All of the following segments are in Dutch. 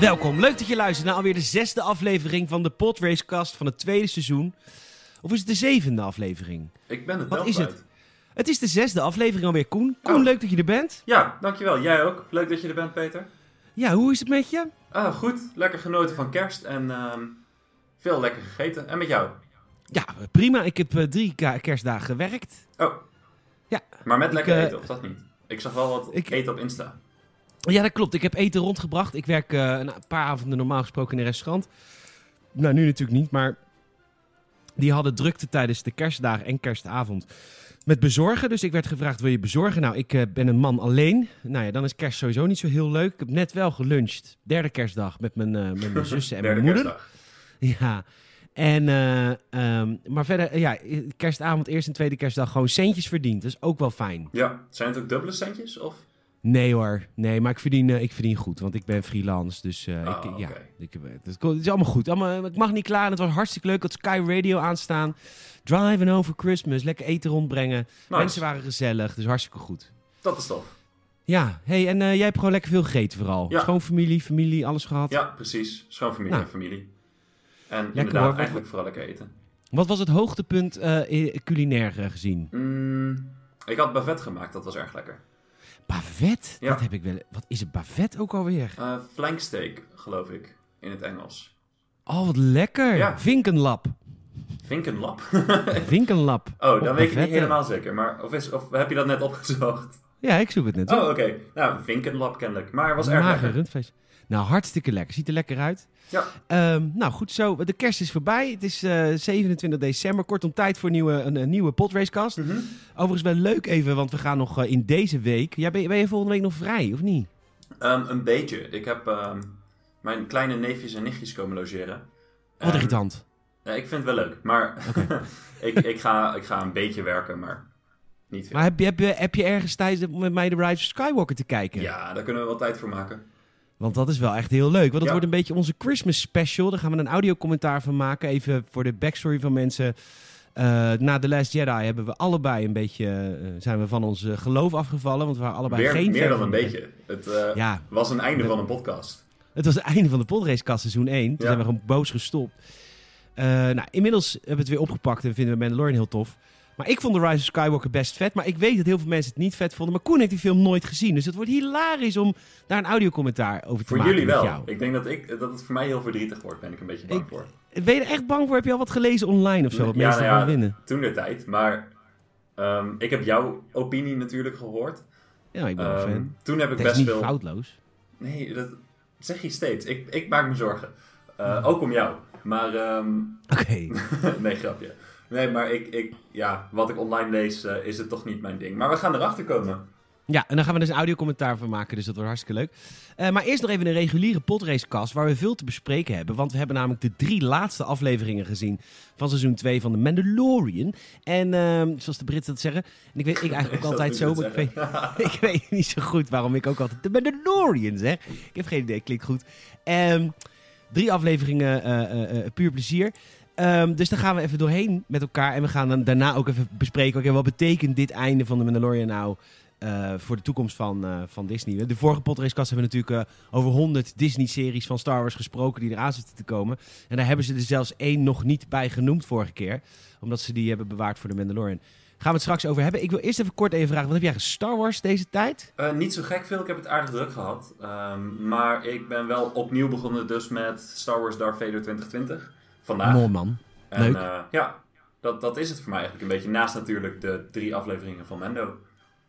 Welkom, leuk dat je luistert naar alweer de zesde aflevering van de Podracecast van het tweede seizoen. Of is het de zevende aflevering? Ik ben het Wat wel is het? kwijt. Het is de zesde aflevering alweer, Koen. Koen, Oh. leuk dat je er bent. Ja, dankjewel. Jij ook. Leuk dat je er bent, Peter. Ja, hoe is het met je? Ah, goed. Lekker genoten van kerst en ehm, veel lekker gegeten. En met jou? Ja, prima. Ik heb eh, drie ka- kerstdagen gewerkt. Oh. Ja. Maar met lekker eh, eten, of dat niet? Ik zag wel wat ik- eten op Insta. Ja, dat klopt. Ik heb eten rondgebracht. Ik werk eh, een paar avonden normaal gesproken in een restaurant. Nou, nu natuurlijk niet, maar die hadden drukte tijdens de kerstdagen en kerstavond met bezorgen. Dus ik werd gevraagd, wil je bezorgen? Nou, ik eh, ben een man alleen. Nou ja, dan is kerst sowieso niet zo heel leuk. Ik heb net wel geluncht, derde kerstdag, met mijn, eh, met mijn zussen en mijn Derde moeder. kerstdag. Ja. En, eh, ehm, maar verder, eh, ja, kerstavond, eerste en tweede kerstdag, gewoon centjes verdiend. Dat is ook wel fijn. Ja. Zijn het ook dubbele centjes? Of? Nee hoor, nee, maar ik verdien, eh, ik verdien goed, want ik ben freelance, dus eh, Ah, ik, ja, oké. ik, heb- het, is- het is allemaal goed. Allemaal, eh, ik mag niet klaar, het was hartstikke leuk, ik had Sky Radio aanstaan, driving over Christmas, lekker eten rondbrengen, Nice. mensen waren gezellig, dus hartstikke goed. Dat is tof. Ja, hey, en eh, jij hebt gewoon lekker veel gegeten vooral. Ja. Schoonfamilie, familie, alles gehad. Ja, precies. Schoonfamilie Nou. en familie. En inderdaad, hoor. eigenlijk vooral lekker eten. Wat was het hoogtepunt eh, i- culinair eh, gezien? Mm, ik had bavet gemaakt, dat was erg lekker. Bavet? Ja. Dat heb ik wel. Wat is het bavet ook alweer? Eh flanksteak, geloof ik, in het Engels. Oh, wat lekker. Ja. Vinkenlap. Vinkenlap. Vinkenlap. Oh, Of dan weet ik niet bavetten. helemaal zeker. Maar of, is, of heb je dat net opgezocht? Ja, ik zoek het net. Oh, op. oké. Nou, vinkenlap kennelijk. Maar het was erg Mager lekker. rundvlees. Nou, hartstikke lekker. Ziet er lekker uit. Ja. Ehm, nou, goed zo. De kerst is voorbij. Het is eh, 27 december. Kortom tijd voor nieuwe, een, een nieuwe potracecast. Mhm. Overigens wel leuk even, want we gaan nog eh, in deze week... Ja, ben, je, ben je volgende week nog vrij, of niet? Ehm, een beetje. Ik heb ehm, mijn kleine neefjes en nichtjes komen logeren. Wat Ehm, irritant. ja, ik vind het wel leuk. Maar ik, ik, ga, ik ga een beetje werken, maar niet veel. Maar heb je, heb, je, heb je ergens tijd om met mij de Rise of Skywalker te kijken? Ja, daar kunnen we wel tijd voor maken. Want dat is wel echt heel leuk. Want het Ja. wordt een beetje onze Christmas special. Daar gaan we een audiocommentaar van maken. Even voor de backstory van mensen. Eh, na The Last Jedi hebben we allebei een beetje... eh, zijn we van ons eh, geloof afgevallen. Want we waren allebei Meer, geen meer fan dan van een de- beetje. Het eh, Ja, was een einde We- van een podcast. het was het einde van de podracekast seizoen 1. Toen Ja. zijn we gewoon boos gestopt. Eh, nou, inmiddels hebben we het weer opgepakt en vinden we Mandalorian heel tof. Maar ik vond The Rise of Skywalker best vet. Maar ik weet dat heel veel mensen het niet vet vonden. Maar Koen heeft die film nooit gezien. Dus het wordt hilarisch om daar een audiocommentaar over te Voor maken jullie met wel. jou. Ik denk dat, ik, dat het voor mij heel verdrietig wordt, ben ik een beetje bang Ik- voor. Ben je er echt bang voor? Heb je al wat gelezen online of zo? Wat Ja, mensen nou ja. gaan winnen? Toen de tijd, maar ehm, ik heb jouw opinie natuurlijk gehoord. Ja, ik ben wel Ehm, fan. toen heb ik Het is best niet veel. foutloos. Nee, dat zeg je steeds. Ik, ik maak me zorgen. Eh, Ook om jou. Maar, ehm, Oké. nee, grapje. Nee, maar ik, ik, ja, wat ik online lees, eh, is het toch niet mijn ding. Maar we gaan erachter komen. Ja, en dan gaan we dus een audiocommentaar van maken, dus dat wordt hartstikke leuk. Eh, maar eerst nog even een reguliere podracekast waar we veel te bespreken hebben. Want we hebben namelijk de drie laatste afleveringen gezien van seizoen 2 van The Mandalorian. En ehm, zoals de Britten dat zeggen, en ik weet ik eigenlijk ook Is dat altijd zo, hoe ze maar ik het weet, ik weet niet zo goed waarom ik ook altijd The Mandalorian zeg. Ik heb geen idee, klinkt goed. Ehm, drie afleveringen, eh, eh, eh, puur plezier. Ehm, dus daar gaan we even doorheen met elkaar. En we gaan dan daarna ook even bespreken. Oké, wat betekent dit einde van de Mandalorian nou eh, voor de toekomst van, eh, van Disney? De vorige podracekast hebben we natuurlijk eh, over 100 Disney-series van Star Wars gesproken die eraan zitten te komen. En daar hebben ze er zelfs één nog niet bij genoemd vorige keer. Omdat ze die hebben bewaard voor de Mandalorian. Gaan we het straks over hebben. Ik wil eerst even kort even vragen, wat heb jij ge- Star Wars deze tijd? Eh, niet zo gek veel, ik heb het aardig druk gehad. Ehm, maar ik ben wel opnieuw begonnen dus met Star Wars Darth Vader 2020. Vandaag. Mooi man. En, Leuk. eh, ja, dat, dat is het voor mij eigenlijk een beetje. Naast natuurlijk de drie afleveringen van Mendo.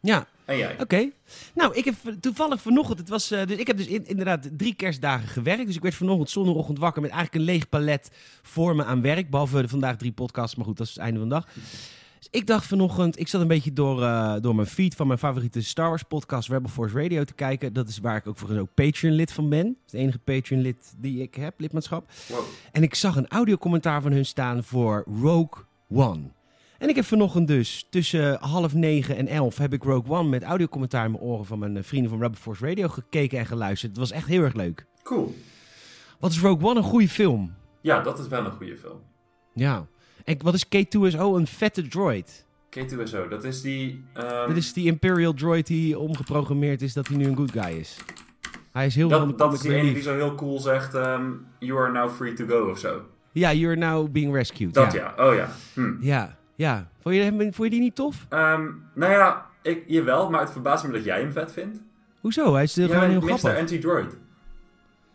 Ja, En jij? Oké. Nou, ik heb toevallig vanochtend, het was, eh, dus ik heb dus in- inderdaad drie kerstdagen gewerkt. Dus ik werd vanochtend zondagochtend wakker met eigenlijk een leeg palet voor me aan werk. Behalve de vandaag drie podcasts, maar goed, dat is het einde van de dag. Dus ik dacht vanochtend, ik zat een beetje door, eh, door mijn feed van mijn favoriete Star Wars podcast Rebel Force Radio te kijken. Dat is waar ik ook voor ook Patreon lid van ben. Dat is het enige Patreon lid die ik heb, lidmaatschap. Wow. En ik zag een audiocommentaar van hun staan voor Rogue One. En ik heb vanochtend dus tussen half negen en elf heb ik Rogue One met audiocommentaar in mijn oren van mijn eh, vrienden van Rebel Force Radio gekeken en geluisterd. Het was echt heel erg leuk. Cool. Wat is Rogue One een goede film? Ja, dat is wel een goede film. Ja. En wat is K2SO? Een vette droid. K2SO, dat is die... ehm, Dit is die Imperial droid die omgeprogrammeerd is dat hij nu een good guy is. Hij Hij is heel Dat, dat comic is die ene die relief. zo heel cool zegt, ehm, you are now free to go of zo. Ja, you're now being rescued. Dat ja. ja, oh ja. Hm. Ja, ja. Vond je, hem- vond je die niet tof? Ehm, nou ja, ik, jawel, maar het verbaast me dat jij hem vet vindt. Hoezo? Hij is eh, jij gewoon heel bent grappig. Mr. Anti-Droid.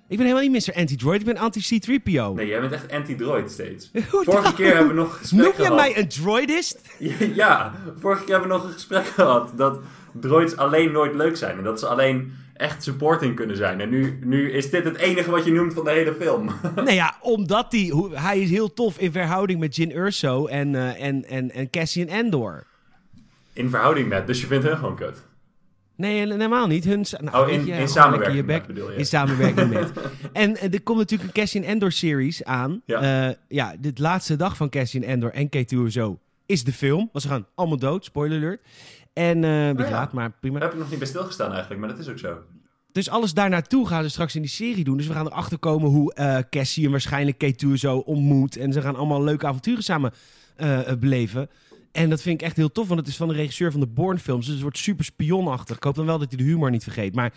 Ik ben helemaal niet Mr. Anti-Droid, ik ben anti-C-3PO. Nee, jij bent echt anti-droid steeds. Hoe Vorige dan? keer hebben we nog een gesprek Noem jij gehad. mij een droidist? Ja, vorige keer hebben we nog een gesprek gehad dat droids alleen nooit leuk zijn. En dat ze alleen echt supporting kunnen zijn. En nu, nu is dit het enige wat je noemt van de hele film. nou ja, omdat die, hoe- hij is heel tof in verhouding met Jin Urso en, eh en, en, en Cassian Andor. In verhouding met, dus je vindt hun gewoon kut. Nee, en- en helemaal niet. Hun, sa- nou, Oh, weet in- in gewoon samenwerking lekker met, bedoel je? In samenwerking met. En eh, er komt natuurlijk een Cassian Endor-series aan. Ja. Eh, ja, dit laatste dag van Cassian Endor en K2SO is de film. Want ze gaan allemaal dood, spoiler alert. En eh een beetje Oh ja. laat, maar prima. Daar heb ik nog niet bij stilgestaan eigenlijk, maar dat is ook zo. Dus alles daar naartoe gaan ze straks in die serie doen. Dus we gaan erachter komen hoe eh Cassie en waarschijnlijk K2 zo ontmoet. En ze gaan allemaal leuke avonturen samen eh, eh, beleven. En dat vind ik echt heel tof, want het is van de regisseur van de Bourne-films. Dus het wordt super spionachtig. Ik hoop dan wel dat hij de humor niet vergeet. Maar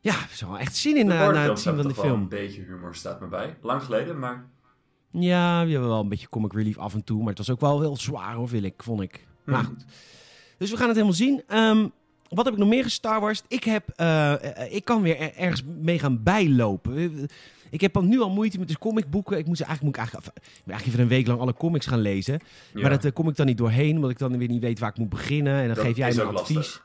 ja, er is wel echt zin in eh, De na, na nou, het Bourne-films zien van de hebben toch wel film. Een beetje humor staat me bij. Lang geleden, maar Ja, we hebben wel een beetje comic relief af en toe. Maar het was ook wel heel zwaar, hoor, wil ik, vond ik. Hm. Maar goed. Dus we gaan het helemaal zien. Ehm, wat heb ik nog meer Star Wars? Ik, heb, eh, eh, ik kan weer er- ergens mee gaan bijlopen. Eh, Ik heb al nu al moeite met de comicboeken. Ik moet, ze eigenlijk, moet ik eigenlijk, af- ik moet eigenlijk even een week lang alle comics gaan lezen. Ja. Maar dat eh, kom ik dan niet doorheen, omdat ik dan weer niet weet waar ik moet beginnen. En dan Dat geef jij is me ook advies. lastig.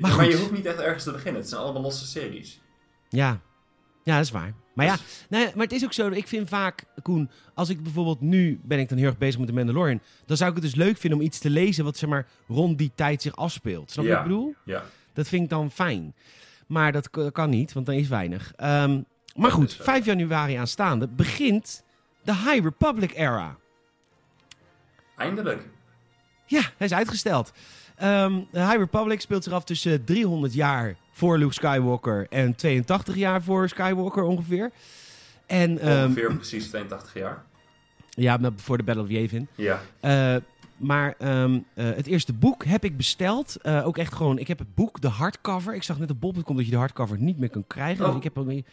Maar maar, goed. je hoeft niet echt ergens te beginnen. Het zijn allemaal losse series. Ja. ja, dat is waar. Maar ja, Dus- nee, maar het is ook zo. Ik vind vaak, Koen, als ik bijvoorbeeld nu ben ik dan heel erg bezig met de Mandalorian. Dan zou ik het dus leuk vinden om iets te lezen wat zeg maar rond die tijd zich afspeelt. Snap je Ja. wat ik bedoel? Ja. Dat vind ik dan fijn. Maar dat k- kan niet, want dan is weinig. Ehm, maar Dat goed, is zo. 5 januari aanstaande begint de High Republic era. Eindelijk. Ja, hij is uitgesteld. Ehm, de High Republic speelt zich af tussen 300 jaar voor Luke Skywalker en 82 jaar voor Skywalker ongeveer. En ehm, Ongeveer precies 82 jaar. ja, maar voor de Battle of Yavin. Ja. Eh, maar ehm, eh, het eerste boek heb ik besteld. Eh, ook echt gewoon, ik heb het boek, de hardcover. Ik zag net op bol.com dat je de hardcover niet meer kunt krijgen. Dus Oh. ik heb hem...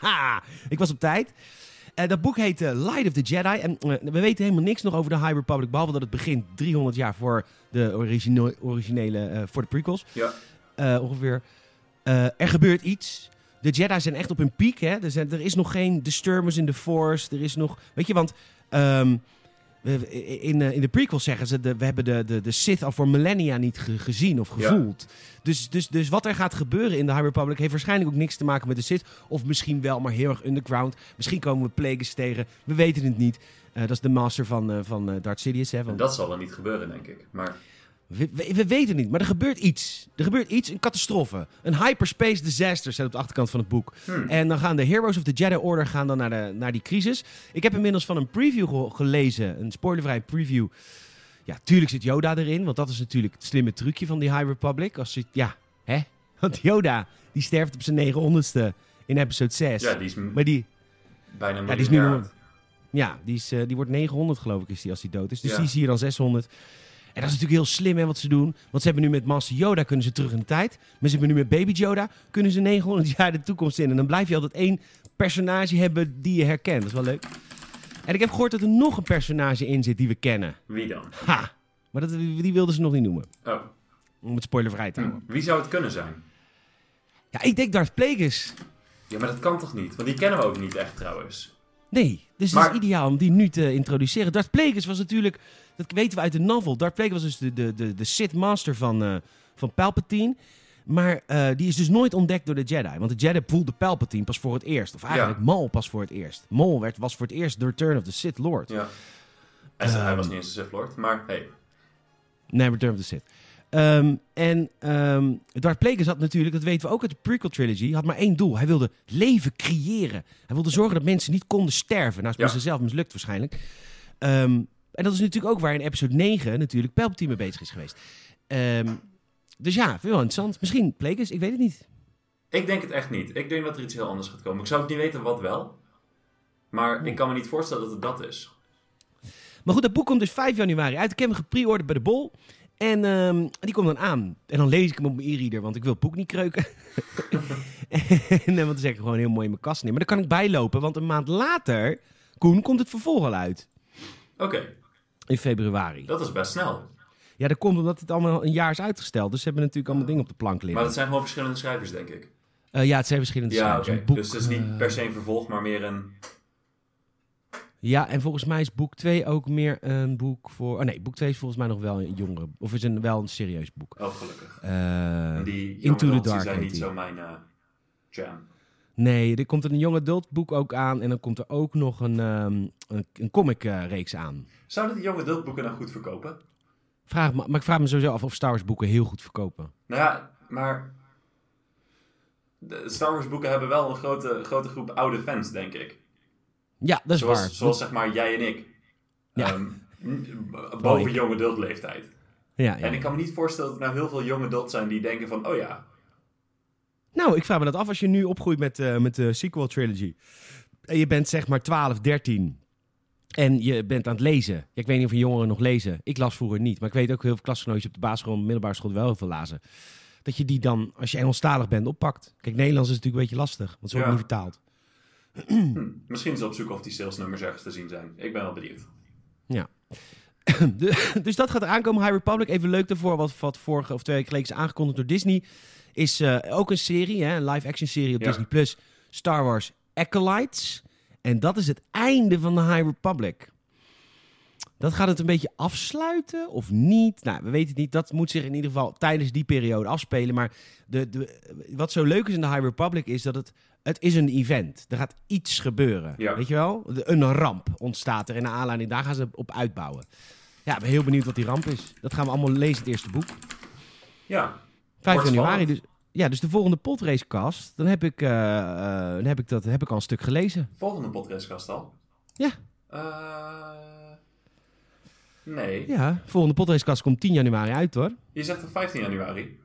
Ja, ik was op tijd. Eh, dat boek heet eh, Light of the Jedi. En eh, we weten helemaal niks nog over de High Republic. Behalve dat het begint 300 jaar voor de origine- originele, eh, voor de prequels Ja. eh, ongeveer. Eh, er gebeurt iets. De Jedi zijn echt op hun piek. Hè? Er, zijn, er is nog geen disturbance in de Force. Er is nog. Weet je, want. ehm, we- in, eh, in de prequel zeggen ze. De, we hebben de, de, de Sith al voor millennia niet ge- gezien of Ja. gevoeld. Dus, dus, dus wat er gaat gebeuren in de High Republic. heeft waarschijnlijk ook niks te maken met de Sith. Of misschien wel, maar heel erg underground. Misschien komen we Plagueis tegen. We weten het niet. Eh, dat is de master van, eh van eh, Darth Sidious. Hè, En van dat zal wel niet gebeuren, denk ik. Maar we, we- we weten het niet, maar er gebeurt iets. Er gebeurt iets, een catastrofe. Een hyperspace disaster staat op de achterkant van het boek. Hmm. En dan gaan de Heroes of the Jedi Order gaan dan naar, de, naar die crisis. Ik heb inmiddels van een preview ge- gelezen, een spoilervrij preview. Ja, tuurlijk zit Yoda erin, want dat is natuurlijk het slimme trucje van die High Republic. Als je, ja, hè? Want Yoda, die sterft op zijn 900ste in episode 6. ja, die is m- Maar die, bijna een ja, die is miljoen nu jaar nog- ja, die, is, eh, die wordt 900 geloof ik is die als die dood is. Dus Ja. die is hier dan 600. En dat is natuurlijk heel slim hè, wat ze doen. Want ze hebben nu met Master Yoda kunnen ze terug in de tijd. Maar ze hebben nu met Baby Yoda kunnen ze 900 jaar de toekomst in. En dan blijf je altijd één personage hebben die je herkent. Dat is wel leuk. En ik heb gehoord dat er nog een personage in zit die we kennen. Wie dan? Ha! Maar dat, die wilden ze nog niet noemen. Oh, Om het spoilervrij te houden. wie zou het kunnen zijn? Ja, ik denk Darth Plagueis. Ja, maar dat kan toch niet? Want die kennen we ook niet echt trouwens. Nee, dus het Maar- is ideaal om die nu te introduceren. Darth Plagueis was natuurlijk, dat weten we uit de novel. Darth Plagueis was dus de, de, de, de Sith Master van, eh, van Palpatine. Maar eh, die is dus nooit ontdekt door de Jedi. Want de Jedi voelde Palpatine pas voor het eerst. Of eigenlijk Ja. Maul pas voor het eerst. Maul werd, was voor het eerst de Return of the Sith Lord. Ja. En ze- Ehm. hij was niet eens een Sith Lord, maar hey. Nee, Return of the Sith. Ehm, en ehm Darth Plagueis had natuurlijk, dat weten we ook uit de prequel trilogy, had maar één doel. Hij wilde leven creëren. Hij wilde zorgen dat mensen niet konden sterven. Nou, is Ja. bij zichzelf mislukt waarschijnlijk. Ehm, en dat is natuurlijk ook waar in episode 9 natuurlijk Palpatine mee bezig is geweest. Ehm, dus ja, vind ik wel interessant. Misschien Plagueis, ik weet het niet. Ik denk het echt niet. Ik denk dat er iets heel anders gaat komen. Ik zou het niet weten wat wel. Maar ik kan me niet voorstellen dat het dat is. Maar goed, dat boek komt dus 5 januari uit. Ik heb hem gepreorderd bij de Bol. En ehm, die komt dan aan. En dan lees ik hem op mijn e-reader, want ik wil het boek niet kreuken. en, eh, want dan zeg ik gewoon heel mooi in mijn kast neer. Maar dan kan ik bijlopen, want een maand later, Koen, komt het vervolg al uit. Oké, In februari. dat is best snel. Ja, dat komt omdat het allemaal een jaar is uitgesteld. Dus ze hebben natuurlijk allemaal dingen op de plank liggen. Maar dat zijn gewoon verschillende schrijvers, denk ik. Eh, ja, het zijn verschillende Ja, schrijvers. oké. Een boek, Dus het is eh, niet per se een vervolg, maar meer een... Ja, en volgens mij is boek 2 ook meer een boek voor... Oh nee, boek 2 is volgens mij nog wel een jongere... Of is een, wel een serieus boek. Oh, gelukkig. Eh, Die Into the Into Dark zijn heet niet die. zo mijn eh, jam. nee, er komt een young adult boek ook aan. En dan komt er ook nog een, ehm, een, een comic eh, reeks aan. Zouden die jonge adultboeken nou goed verkopen? Vraag me, maar ik vraag me sowieso af of Star Wars boeken heel goed verkopen. Nou ja, maar... De Star Wars boeken hebben wel een grote, grote groep oude fans, denk ik. Ja, dat is zoals, waar. Zoals zeg maar jij en ik. Ja. Ehm, boven ik. jonge adult leeftijd. ja, ja. En ik kan me niet voorstellen dat er nou heel veel jonge adults zijn die denken van... Oh ja, Nou, ik vraag me dat af als je nu opgroeit met, eh, met de sequel trilogy. En je bent zeg maar 12, 13. En je bent aan het lezen. Ja, ik weet niet of je jongeren nog lezen. Ik las vroeger niet. Maar ik weet ook heel veel klasgenootjes op de basisschool en middelbare school die wel heel veel lazen. Dat je die dan, als je Engelstalig bent, oppakt. Kijk, Nederlands is natuurlijk een beetje lastig. Want ze worden niet Ja. vertaald. misschien is op zoek of die salesnummers ergens te zien zijn. Ik ben wel benieuwd. Ja. De- dus dat gaat aankomen. High Republic, even leuk daarvoor. Wat, wat vorige of twee weken geleden is aangekondigd door Disney. Is eh, ook een serie, hè, een live-action serie op Ja. Disney+. Plus. Star Wars Acolytes. En dat is het einde van de High Republic. Dat gaat het een beetje afsluiten of niet? Nou, we weten het niet. Dat moet zich in ieder geval tijdens die periode afspelen. Maar de, de, wat zo leuk is in de High Republic is dat het, het is een event. Er gaat iets gebeuren. Ja. Weet je wel? De- een ramp ontstaat er. En naar aanleiding daar gaan ze op uitbouwen. Ja, ik ben heel benieuwd wat die ramp is. Dat gaan we allemaal lezen in het eerste boek. Ja, 5 Wordt januari. spannend. Dus, ja, dus de volgende potracecast. Dan heb ik, eh, eh, dan heb ik, dat, heb ik al een stuk gelezen. volgende podcastkast al. Ja. Eh, nee. Ja, volgende potracecast komt 10 januari uit hoor. Je zegt toch 15 januari?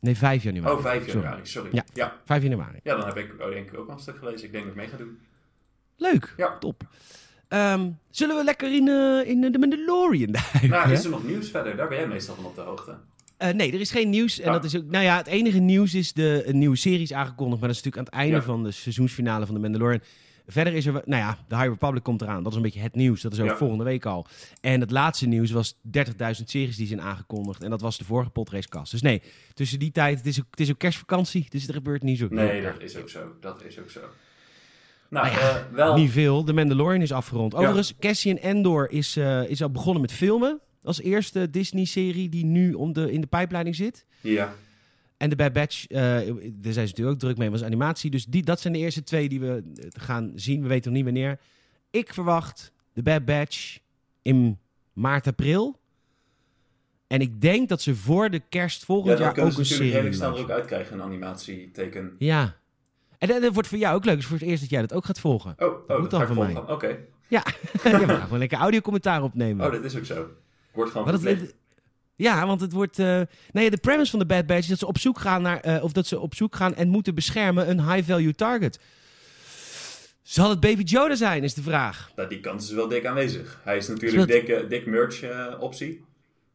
Nee, 5 januari. Oh, 5 Sorry. januari, sorry. Ja. Ja. 5 januari. Ja, dan heb ik oh, denk ik ook al een stuk gelezen. Ik denk dat ik mee ga doen. Leuk. Ja. Top. Ehm, zullen we lekker in, eh, in eh, de Mandalorian duiken? Nou, hè? is er nog nieuws verder? Daar ben jij meestal van op de hoogte. Eh, nee, er is geen nieuws. En Ah. dat is ook, nou ja, het enige nieuws is de een nieuwe serie is aangekondigd. Maar dat is natuurlijk aan het einde Ja. van de seizoensfinale van de Mandalorian. Verder is er, wel- nou ja, de High Republic komt eraan. Dat is een beetje het nieuws. Dat is ook Ja. volgende week al. En het laatste nieuws was 30.000 series die zijn aangekondigd. En dat was de vorige potracecast. Dus nee, tussen die tijd, het is ook, het is ook kerstvakantie. Dus er gebeurt niet zo Nee, heel dat erg is veel. ook zo. Dat is ook zo. Nou, Nou eh, wel... Niet veel. De Mandalorian is afgerond. Overigens, Cassian Endor is, eh, is al begonnen met filmen. Als eerste Disney-serie die nu om de, in de pijpleiding zit. Ja. En de Bad Batch, eh, daar zijn ze natuurlijk ook druk mee, was animatie. Dus die, dat zijn de eerste twee die we eh, gaan zien. We weten nog niet wanneer. Ik verwacht de Bad Batch in maart, april. En ik denk dat ze voor de kerst Ja, volgend dat jaar ook kunnen ze een natuurlijk serie redelijk snel er lanceren. ook uitkrijgen, een animatieteken. Ja. En dat dat wordt voor jou ook leuk. Het is voor het eerst dat jij dat ook gaat volgen. Oh, oh moet dat dan ga ik van volgen. mij. Oké, ja, we gaan gewoon lekker audiocommentaar opnemen. oh, dat is ook zo. Ik word gewoon Maar dat- verplicht. ja, want het wordt. eh nee, de premise van de Bad Batch is dat ze op zoek gaan naar. eh, of dat ze op zoek gaan en moeten beschermen een high-value target. Zal het Baby Yoda zijn, is de vraag. Nou, die kans is wel dik aanwezig. Hij is natuurlijk Is dik, eh, dik merch eh, optie.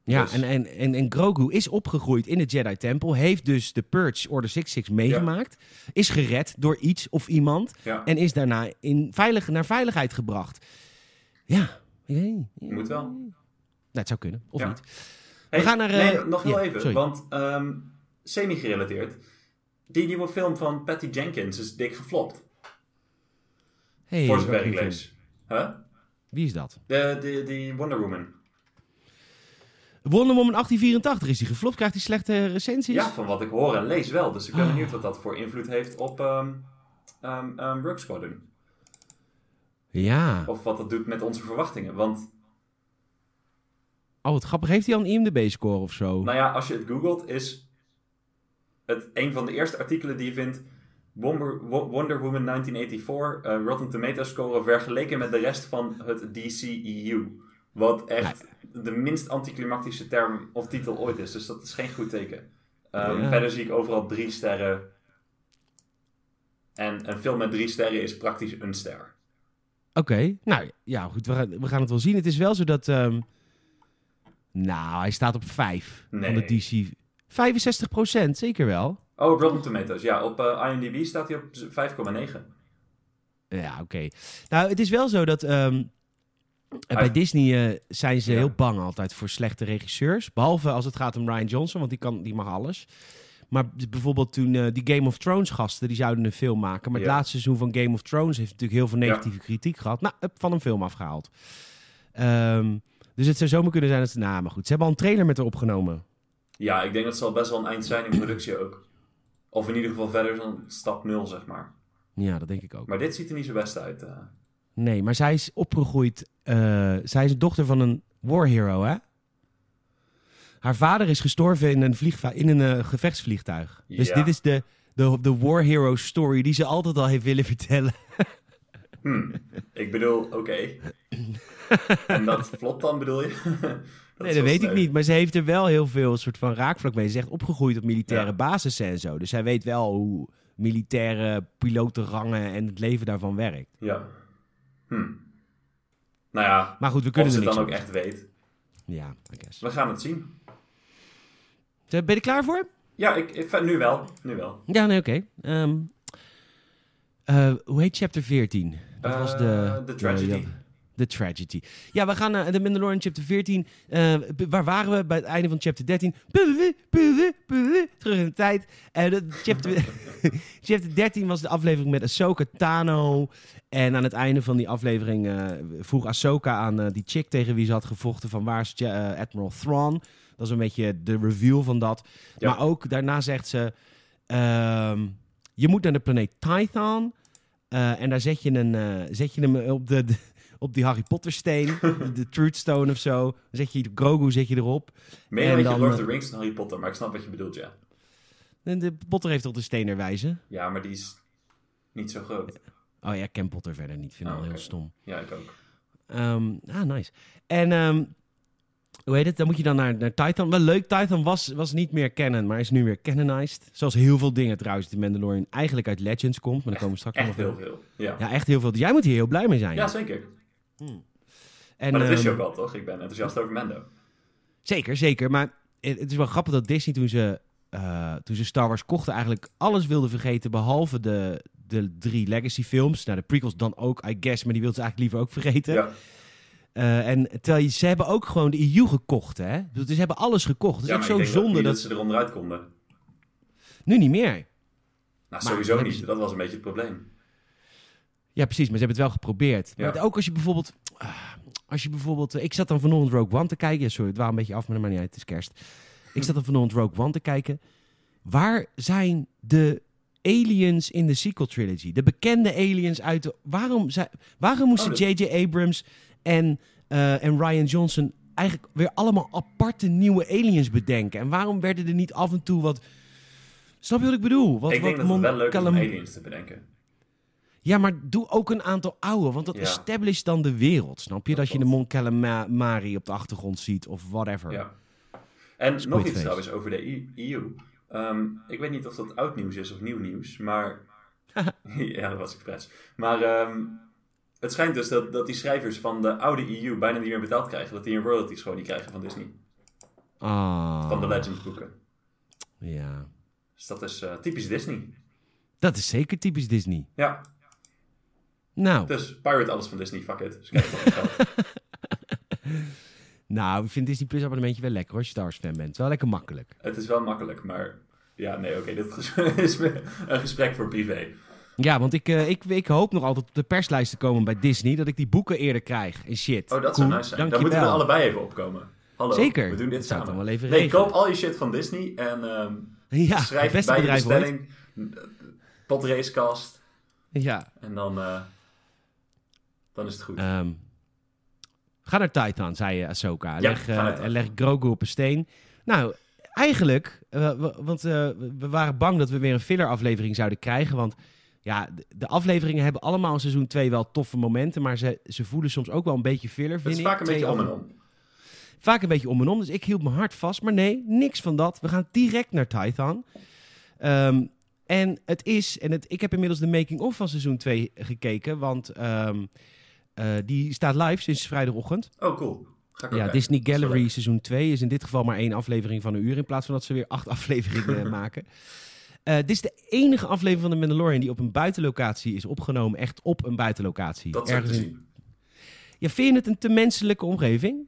Ja, Dus- en, en, en, en Grogu is opgegroeid in de Jedi-tempel. Heeft dus de Purge Order 66 meegemaakt. Is gered door iets of iemand. Ja, En is daarna in veilig, naar veiligheid gebracht. Ja, ik weet niet. Ja, moet wel. het zou kunnen, of Ja. niet. Hey, gaan naar, Nee, eh, nog heel ja, even, sorry. want ehm, semi-gerelateerd. Die nieuwe film van Patty Jenkins is dik geflopt, Hey, voor zover ik welke lees. Huh? film? Wie is dat? De, de, die Wonder Woman. Wonder Woman 1884 is die geflopt. Krijgt hij slechte recensies? Ja, van wat ik hoor en lees wel. Dus ik ben benieuwd wat dat voor invloed heeft op ehm ehm ehm, Rogue Squadron. Ja. Of wat dat doet met onze verwachtingen. Want, Oh, wat grappig. Heeft hij al een IMDb-score of zo? nou ja, als je het googelt, is het een van de eerste artikelen die je vindt. Wonder, Wo- Wonder Woman 1984, eh, Rotten Tomatoes score vergeleken met de rest van het DCEU. Wat echt de minst anticlimactische term of titel ooit is. Dus dat is geen goed teken. Ehm, Ja. Verder zie ik overal drie sterren. En een film met drie sterren is praktisch een ster. Oké. Nou, ja, goed. We gaan, we gaan het wel zien. Het is wel zo dat... ehm, Nou, hij staat op 5 van de Nee. DC. 65 zeker wel. Oh, Rotten Tomatoes. Ja, op eh, IMDb staat hij op 5,9. Ja, oké. Nou, het is wel zo dat... ehm, eh, bij Ah. Disney eh, zijn ze Ja. heel bang altijd voor slechte regisseurs. Behalve als het gaat om Ryan Johnson, want die, kan, die mag alles. Maar b- bijvoorbeeld toen eh, die Game of Thrones gasten, die zouden een film maken. Maar het Ja. laatste seizoen van Game of Thrones heeft natuurlijk heel veel negatieve kritiek gehad. Nou, hup, van een film afgehaald. Ehm, dus het zou zomaar kunnen zijn dat ze... Nou, maar goed, ze hebben al een trailer met haar opgenomen. Ja, ik denk dat ze al best wel een eind zijn in productie ook. Of in ieder geval verder dan stap 0, zeg maar. Ja, dat denk ik ook. Maar dit ziet er niet zo best uit. eh. Nee, maar zij is opgegroeid. eh, zij is de dochter van een war hero, hè? Haar vader is gestorven in een, vliegva- in een eh, gevechtsvliegtuig. Dus Ja. dit is de, de, de war hero story die ze altijd al heeft willen vertellen. Hm. Ik bedoel, oké. en dat flopt dan, bedoel je? dat nee, dat weet ik niet. Maar ze heeft er wel heel veel soort van raakvlak mee. Ze is echt opgegroeid op militaire Ja. basis en zo. Dus zij weet wel hoe militaire pilotenrangen en het leven daarvan werkt. Ja. Hm. Nou ja, Maar goed, we of kunnen ze er het niks dan ook aan echt weet. doen. Ja, I guess. Eh, We gaan het zien. Ben je er klaar voor? Ja, ik, ik- nu wel. Nu wel. Ja, nee, oké. Ehm, eh, hoe heet chapter 14? Dat was de... Eh, de tragedy. Ja, ja, De tragedy. Ja, we gaan naar The Mandalorian chapter 14. Eh, b- waar waren we bij het einde van chapter 13? Puh, puh, puh, puh, terug in de tijd. Eh, dat- chapter, chapter 13 was de aflevering met Ahsoka Tano. En aan het einde van die aflevering eh, vroeg Ahsoka aan eh, die chick tegen wie ze had gevochten van waar is Ja- eh, Admiral Thrawn. Dat is een beetje de reveal van dat. Ja. Maar ook daarna zegt ze, ehm, je moet naar de planeet Tython. Eh, en daar zet je, een, eh, zet je hem op, de, de- op die Harry Potter steen, de, de Truth Stone of zo. Dan zet je Grogu zet je erop. Meer En een beetje dan, Lord of eh, the Rings en Harry Potter, maar ik snap wat je bedoelt, ja. En de Potter heeft tot de steen erwijzen. Ja, maar die is niet zo groot. Oh ja, ik ken Potter verder niet. Vind ik Oh, al oké. heel stom. Ja, ik ook. Ehm, ah, nice. En ehm, hoe heet het? Dan moet je dan naar, naar Titan. Wel leuk, Titan was, was niet meer canon, maar is nu weer canonized. Zoals heel veel dingen trouwens, die Mandalorian eigenlijk uit Legends komt. Maar daar komen we straks Echt nog heel op. veel. Ja, Ja, echt heel veel. Dus Jij moet hier heel blij mee zijn. ja zeker. en, Maar dat wist je ehm, ook wel, toch? Ik ben enthousiast over Mendo. Zeker, zeker. Maar het het is wel grappig dat Disney toen ze, eh, toen ze Star Wars kochten... eigenlijk alles wilde vergeten behalve de, de drie legacy films. Nou, de prequels dan ook, I guess. Maar die wilden ze eigenlijk liever ook vergeten. Ja, Eh, en terwijl je- ze hebben ook gewoon de EU gekocht, hè? Dus ze hebben alles gekocht. Het is ja ook maar zo'n ik denk zonde dat, dat, niet dat ze er onderuit konden. Nu niet meer. Nou, sowieso hebben niet. ze- Dat was een beetje het probleem. Ja, precies, maar ze hebben het wel geprobeerd. Ja. Maar ook als je bijvoorbeeld... ah, Als je bijvoorbeeld... eh, Ik zat dan vanochtend Rogue One te kijken. Ja, sorry, het waren een beetje af, maar dat maakt niet uit. Het is kerst. Ik zat dan vanochtend Rogue One te kijken. Waar zijn de aliens in de sequel trilogy? De bekende aliens uit de... Waarom, zei- waarom moesten Oh, dat- J.J. Abrams en, eh, en Ryan Johnson... eigenlijk weer allemaal aparte nieuwe aliens bedenken? En waarom werden er niet af en toe wat... Snap je wat ik bedoel? Wat, ik denk wat dat het wel Mon- leuk is om Calam- aliens te bedenken. ja, maar doe ook een aantal oude, want dat Ja. establisht dan de wereld, snap je? Dat Dat, je de klopt. Mon Calamari op de achtergrond ziet of whatever. Ja. En nog iets Face. trouwens over de I- EU. Ehm, ik weet niet of dat oud nieuws is of nieuw nieuws, maar... ja, dat was expres. Maar ehm, het schijnt dus dat, dat die schrijvers van de oude EU bijna niet meer betaald krijgen. Dat die een royalties gewoon niet krijgen van Disney. Ah, Van de Legends boeken. ja. Dus dat is eh, typisch Disney. Dat is zeker typisch Disney. Ja, Nou, dus pirate alles van Disney, fuck it. Dus kijk het geld. nou, ik vind Disney Plus abonnementje wel lekker hoor, als je Star Wars fan bent. Wel lekker makkelijk. Het is wel makkelijk, maar... Ja, nee, oké, dit ges- is weer een gesprek voor privé. Ja, want ik, eh, ik, ik hoop nog altijd op de perslijst te komen bij Disney, dat ik die boeken eerder krijg en shit. Oh, dat Cool, zou nice zijn. dank Daar je moeten we wel. allebei even opkomen. Hallo, Zeker. we doen dit Dat zou ik samen. dan wel even nee, regelen. koop al je shit van Disney en ehm, Ja, het schrijf beste bij je bedrijf ooit. bestelling eh, potracecast Ja. en dan, eh, dan is het goed. Ehm, ga naar Titan, zei eh, Ahsoka. leg, ga naar eh, Titan. leg Grogu op een steen. Nou, eigenlijk, eh, wa- want eh, we waren bang dat we weer een filler-aflevering zouden krijgen. Want ja, de, de afleveringen hebben allemaal in seizoen 2 wel toffe momenten. Maar ze, ze voelen soms ook wel een beetje filler. het vind is ik. vaak een Twee beetje om afle- en om. Vaak een beetje om en om. Dus ik hield mijn hart vast. Maar nee, niks van dat. We gaan direct naar Titan. Ehm, en het is, en het, ik heb inmiddels de making-of van seizoen 2 gekeken. Want ehm, eh, die staat live sinds vrijdagochtend. Oh, cool. Ga ik ook Ja, kijken. Disney Dat is wel Gallery leuk. seizoen 2 is in dit geval maar één aflevering van een uur. In plaats van dat ze weer acht afleveringen eh, maken. Eh, dit is de enige aflevering van The Mandalorian die op een buitenlocatie is opgenomen. Echt op een buitenlocatie. Dat zou ik te in- zien. Ja, vind je het een te menselijke omgeving?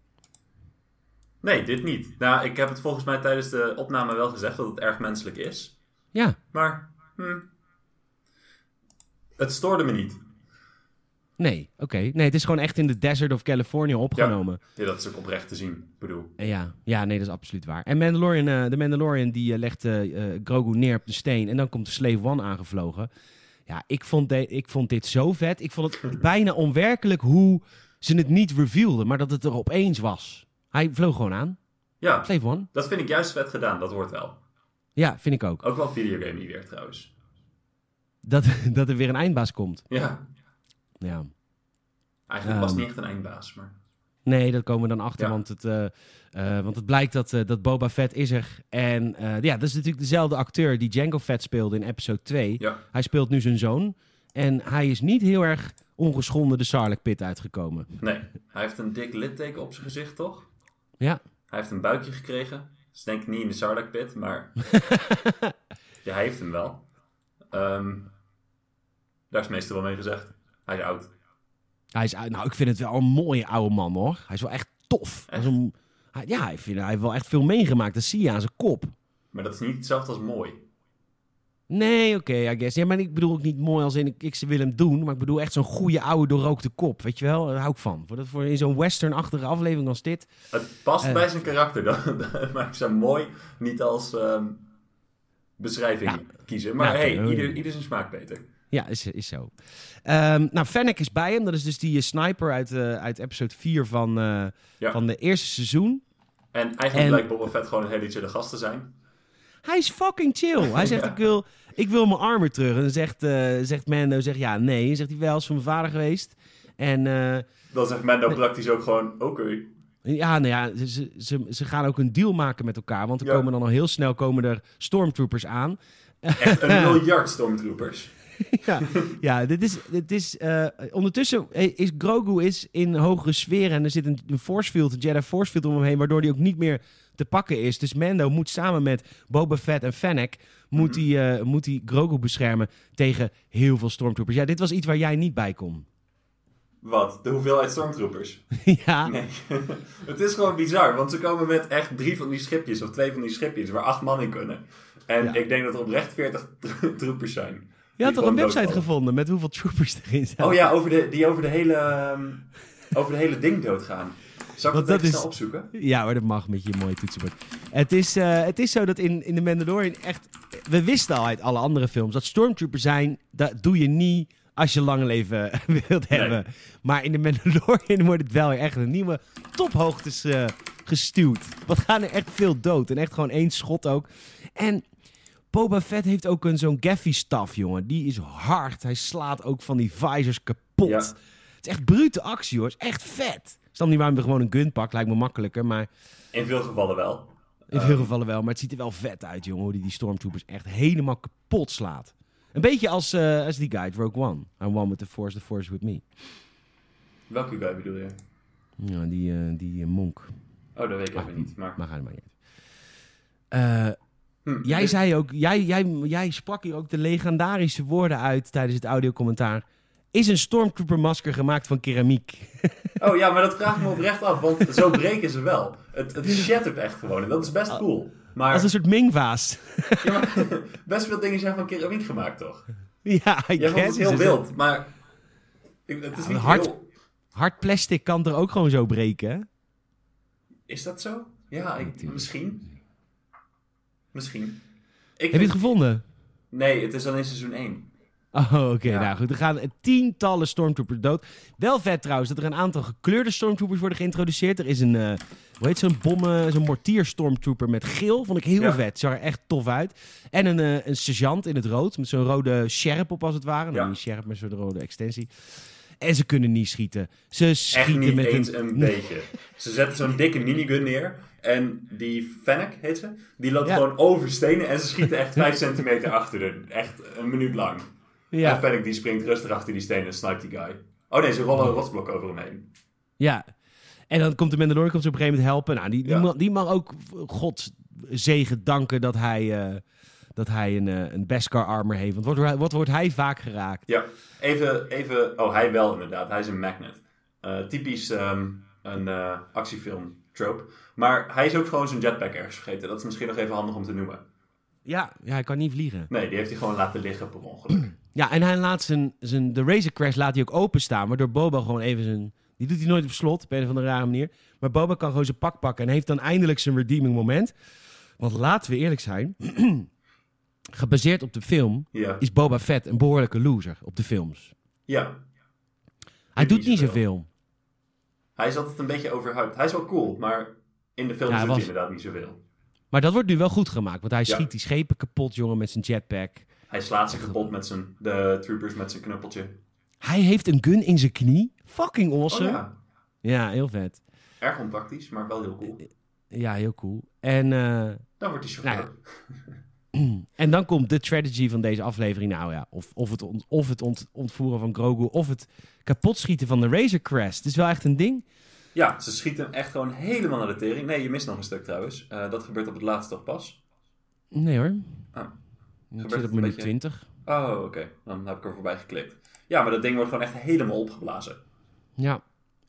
Nee, dit niet. Nou, ik heb het volgens mij tijdens de opname wel gezegd dat het erg menselijk is. Ja. Maar, hm. Het stoorde me niet. Nee, oké. Nee, het is gewoon echt in de desert of California opgenomen. Ja, dat is ook oprecht te zien. Ik bedoel, Eh, Ja, ja nee, dat is absoluut waar. En Mandalorian, eh, de Mandalorian die eh, legt eh, eh, Grogu neer op de steen. En dan komt Slave One aangevlogen. Ja, ik vond, de- ik vond dit zo vet. Ik vond het bijna onwerkelijk hoe ze het niet reveelden. Maar dat het er opeens was. Hij vloog gewoon aan. ja, Slave One. dat vind ik juist vet gedaan. Dat hoort wel. Ja, vind ik ook. Ook wel videogamey weer trouwens. Dat, dat er weer een eindbaas komt. Ja, Ja. eigenlijk was het Ehm. niet echt een eindbaas, maar... Nee, dat komen we dan achter, Ja. want, het, eh, eh, want het blijkt dat, eh, dat Boba Fett is er. En eh, ja, dat is natuurlijk dezelfde acteur die Django Fett speelde in episode 2. Ja. Hij speelt nu zijn zoon en hij is niet heel erg ongeschonden de Sarlacc pit uitgekomen. Nee, hij heeft een dik litteken op zijn gezicht, toch? Ja, Hij heeft een buikje gekregen. Dat is denk ik niet in de Sarlacc pit, maar... ja, hij heeft hem wel. Ehm, daar is meestal wel mee gezegd. Hij is oud. hij is, nou, ik vind het wel een mooie oude man hoor. Hij is wel echt tof. Hij is een- hij- ja, hij, vind, hij heeft wel echt veel meegemaakt. Dat zie je aan zijn kop. Maar dat is niet hetzelfde als mooi. Nee, oké, I guess. Ja, maar ik bedoel ook niet mooi als in ik, ik ze wil hem doen. Maar ik bedoel echt zo'n goede oude doorrookte kop. Weet je wel? Daar hou ik van. Voor, dat- voor in zo'n westernachtige aflevering als dit. Het past Eh. bij zijn karakter, dan, dan maak ik ze mooi niet als ehm, beschrijving kiezen. Maar Nou, hey, oké. ieder, ieder zijn smaak, Peter. Ja, is, is zo. Ehm, nou, Fennec is bij hem. Dat is dus die eh, sniper uit, eh, uit episode 4 van, eh, Ja. van de eerste seizoen. En eigenlijk En- blijkt Boba Fett gewoon een hele chille gast te zijn. Hij is fucking chill. Hij zegt, ik, wil, ik wil mijn armor terug. En dan zegt, eh, zegt Mando, zegt ja, nee. Dan zegt hij wel, is van mijn vader geweest. En eh, Dan zegt Mendo praktisch ook gewoon, oké. ja, nou ja, ze- ze, ze, ze gaan ook een deal maken met elkaar. Want er Ja. komen dan al heel snel komen er stormtroopers aan. Echt een miljard stormtroopers. ja, ja, dit is. Dit is eh, ondertussen is Grogu is in hogere sferen. En er zit een, een force field, een Jedi force field om hem heen. Waardoor hij ook niet meer te pakken is. Dus Mando moet samen met Boba Fett en Fennec. Moet hij, eh, moet hij Grogu beschermen tegen heel veel stormtroopers. Ja, dit was iets waar jij niet bij kon. Wat? De hoeveelheid stormtroopers? ja, Nee. het is gewoon bizar, want ze komen met echt drie van die schipjes, of twee van die schipjes, waar acht man in kunnen. En Ja. ik denk dat er oprecht veertig troepers zijn. je had toch een website gevonden? gevonden met hoeveel troopers erin staan. Oh ja, over de, die over de hele, ehm, over de hele ding doodgaan. Zal Want ik dat, dat even is- snel opzoeken? Ja hoor, dat mag met je mooie toetsenbord. Het is, eh, het is zo dat in, in The Mandalorian echt... We wisten al uit alle andere films dat stormtroopers zijn... dat doe je niet als je lang leven wilt Nee. hebben. Maar in The Mandalorian wordt het wel weer echt een nieuwe tophoogtes eh, gestuurd. Wat gaan er echt veel dood. En echt gewoon één schot ook. En Boba Fett heeft ook een zo'n Gaffy-staf, jongen. Die is hard. Hij slaat ook van die visors kapot. Ja. Het is echt brute actie, hoor. Het is echt vet. Stam niet waarom we gewoon een gun pakt. Lijkt me makkelijker, maar... In veel gevallen wel. In Ehm, veel gevallen wel, maar het ziet er wel vet uit, jongen. Hoe die, die stormtroopers echt helemaal kapot slaat. Een beetje als, eh, als die guy, uit Rogue One. I'm one with the force, the force with me. Welke guy bedoel je? Ja, die, eh, die eh, monk. Oh, dat weet ik Ah. even niet. Maar... Maar ga er maar niet uit. Eh, Hm, jij dit- zei ook, jij, jij, jij sprak hier ook de legendarische woorden uit tijdens het audiocommentaar. Is een stormtrooper masker gemaakt van keramiek? Oh ja, maar dat vraag ik me oprecht af, want zo breken ze wel. Het, het shattert echt gewoon en dat is best cool. Maar, Ah. Als een soort mingvaas. ja, maar best veel dingen zijn van keramiek gemaakt, toch? ja, ik Jij vond het heel wild. wild, maar ik- het is maar niet hard- heel... Hard plastic kan er ook gewoon zo breken, hè? Is dat zo? Ja, ik, misschien. Misschien. Ik Heb je vind- het gevonden? Nee, het is alleen seizoen 1. Oh, oké. Ja. Nou goed, er gaan tientallen stormtroopers dood. Wel vet trouwens dat er een aantal gekleurde stormtroopers worden geïntroduceerd. Er is een, eh, hoe heet zo'n bommen, zo'n mortier stormtrooper met geel. Vond ik heel Ja. vet. Zag er echt tof uit. En een, eh, een sergeant in het rood met zo'n rode sjerp op als het ware. Nou, Ja. niet sjerp, maar zo'n rode extensie. En ze kunnen niet schieten. Ze Echt schieten niet met eens een... een beetje. Ze zetten zo'n dikke minigun neer. En die Fennec, heet ze, die loopt Ja. gewoon over stenen en ze schieten echt 5 centimeter achter hun. Echt een minuut lang. En Ja, Fennec die springt rustig achter die stenen en snipt die guy. Oh nee, ze rollen een rotsblok over hem heen. ja. En dan komt de Mandalorian komt ze op een gegeven moment helpen. Nou, die, die, Ja. man, die man ook Gods zegen danken dat hij, eh, dat hij een, eh, een Beskar armor heeft. Want wat, wordt hij- wat wordt hij vaak geraakt? Ja, even, even... Oh, hij wel inderdaad. Hij is een magnet. Eh, typisch ehm, een eh, actiefilm trope. Maar hij is ook gewoon zijn jetpack ergens vergeten. Dat is misschien nog even handig om te noemen. Ja, ja hij kan niet vliegen. Nee, die heeft hij gewoon laten liggen per ongeluk. Ja, en hij laat zijn, zijn de Razor Crash laat hij ook openstaan, waardoor Boba gewoon even zijn... Die doet hij nooit op slot, op een of andere rare manier. Maar Boba kan gewoon zijn pak pakken en heeft dan eindelijk zijn redeeming moment. Want laten we eerlijk zijn, gebaseerd op de film Ja. is Boba Fett een behoorlijke loser op de films. ja, Hij Doet doet niet niet zoveel. zoveel. hij is altijd een beetje overhyped. Hij is wel cool, maar in de film Ja, hij doet was- hij inderdaad niet zoveel. Maar dat wordt nu wel goed gemaakt, want hij Ja. schiet die schepen kapot, jongen, met zijn jetpack. Hij slaat ze kapot met zijn... De troopers met zijn knuppeltje. Hij heeft een gun in zijn knie. Fucking awesome. Oh ja. ja, heel vet. erg onpraktisch, maar wel heel cool. Ja, heel cool. En, eh, Dan wordt hij chauffeur. Nou en dan komt de strategy van deze aflevering. Nou ja, of, of het, ont- of het ont- ontvoeren van Grogu, of het kapotschieten van de Razor Crest. Het is wel echt een ding. Ja, ze schieten hem echt gewoon helemaal naar de tering. Nee, je mist nog een stuk trouwens. Eh, dat gebeurt op het laatste toch pas. Nee hoor. Ah. Ik Gebeurt zit het op een minuut beetje? 20. Oh, oké. Dan heb ik er voorbij geklikt. Ja, maar dat ding wordt gewoon echt helemaal opgeblazen. Ja.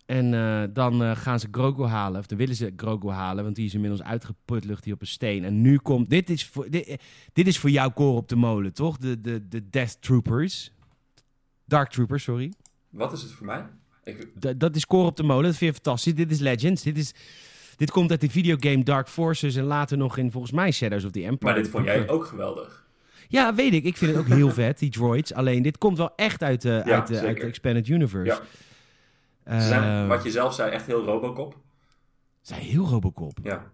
En eh, dan eh, gaan ze Grogu halen, of dan willen ze Grogu halen, want die is inmiddels uitgeput, ligt hij op een steen. En nu komt, dit is voor, dit, eh, dit is voor jouw koor op de molen, toch? De, de, de Death Troopers. Dark Troopers, sorry. Wat is het voor mij? Ik, D- dat is koor op de molen, dat vind je fantastisch. Dit is Legends, dit is... Dit komt uit de videogame Dark Forces en later nog in volgens mij Shadows of the Empire. maar dit vond jij ook geweldig. Ja, weet ik. Ik vind het ook heel vet, die droids. Alleen dit komt wel echt uit, eh, Ja, uit, eh, uit zeker. de Expanded Universe. Ja. Ze zijn, wat je zelf zei, echt heel Robocop. zijn heel Robocop. Ja.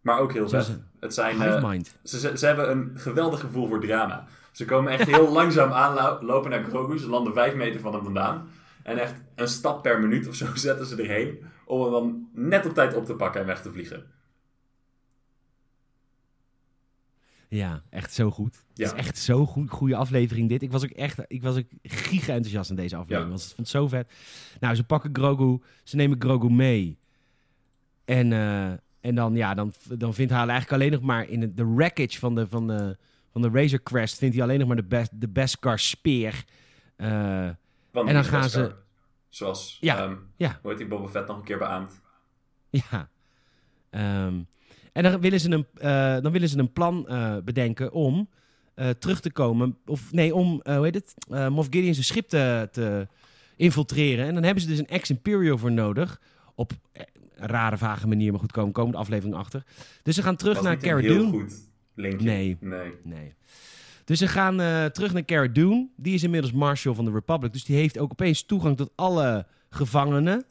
Maar ook heel Zo vet. zijn- Het zijn, eh, Hive Mind. ze, ze, ze hebben een geweldig gevoel voor drama. Ze komen echt heel langzaam aanlopen naar Grogu. Ze landen vijf meter van hem vandaan. En echt een stap per minuut of zo zetten ze erheen. Om hem dan net op tijd op te pakken en weg te vliegen. Ja, echt zo goed. Ja. Het is echt zo'n goed, goede aflevering dit. Ik was ook echt ik was ook giga enthousiast in deze aflevering. Ja. Want ik vond het zo vet. Nou, ze pakken Grogu. Ze nemen Grogu mee. En, eh, en dan, ja, dan, dan vindt hij eigenlijk alleen nog maar... in het- de wreckage van de, van de, van de Razor Crest... vindt hij alleen nog maar de, best, de Beskar speer. Eh, Want En dan die gaan Beskar, ze- Zoals, Ja, ehm, ja. hoe heet die Boba Fett nog een keer beaamd? ja. Ehm, en dan willen ze een, eh, dan willen ze een plan eh, bedenken om eh, terug te komen. Of nee, om, eh, hoe heet het? eh Moff Gideon zijn schip te, te infiltreren. En dan hebben ze dus een ex-imperial voor nodig. Op eh, een rare, vage manier. Maar goed, komen komen de aflevering achter. Dus ze gaan terug Was naar niet een Cara heel Dune. goed linkje. Nee. Nee. Nee. Dus ze gaan eh, terug naar Cara Dune. Die is inmiddels Marshal van de Republic. Dus die heeft ook opeens toegang tot alle gevangenen.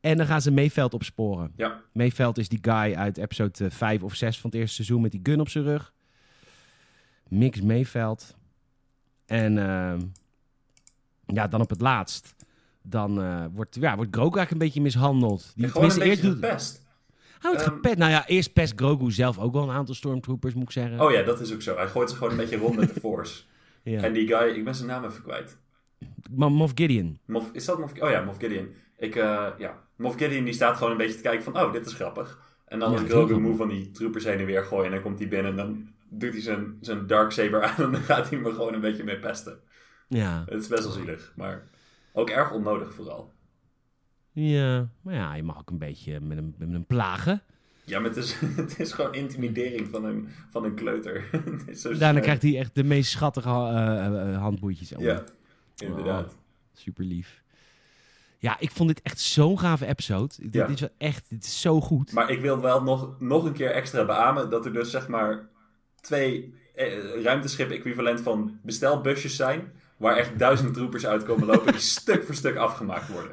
en dan gaan ze Mayveld opsporen. Ja. Mayveld is die guy uit episode eh, 5 of 6 van het eerste seizoen met die gun op zijn rug. Mix Mayveld. En ehm, ja, dan op het laatst. Dan eh, wordt, ja, wordt Grogu eigenlijk een beetje mishandeld. Die, gewoon een tenminste, beetje eerst doet, gepest. hij wordt Ehm, gepet. Nou ja, eerst pest Grogu zelf ook wel een aantal stormtroopers, moet ik zeggen. Oh ja, dat is ook zo. Hij gooit ze gewoon een beetje rond met de force. ja. En die guy, ik ben zijn naam even kwijt. Maar Moff Gideon. Moff, is dat Moff Oh ja, Moff Gideon. Ik, eh, ja. Moff Gideon die staat gewoon een beetje te kijken van, oh, dit is grappig. En dan Ja, als dat is Grogu heel moe van die troepers heen en weer gooien en dan komt hij binnen en dan doet hij zijn, zijn darksaber aan en dan gaat hij me gewoon een beetje mee pesten. Ja. Het is best wel zielig, maar ook erg onnodig vooral. Ja. Maar ja, je mag ook een beetje met een, met een plagen. Ja, maar het is, het is gewoon intimidering van een, van een kleuter. Het is zo Daarna sneu. krijgt hij echt de meest schattige ha- eh, eh, handboeitjes. om. Ja, inderdaad. Super lief. Ja, ik vond dit echt zo'n gave episode. Dit, Ja. dit is wel echt, dit is zo goed. Maar ik wil wel nog, nog een keer extra beamen dat er dus zeg maar twee eh, ruimteschip equivalent van bestelbusjes zijn. Waar echt duizend troepers uitkomen lopen die stuk voor stuk afgemaakt worden.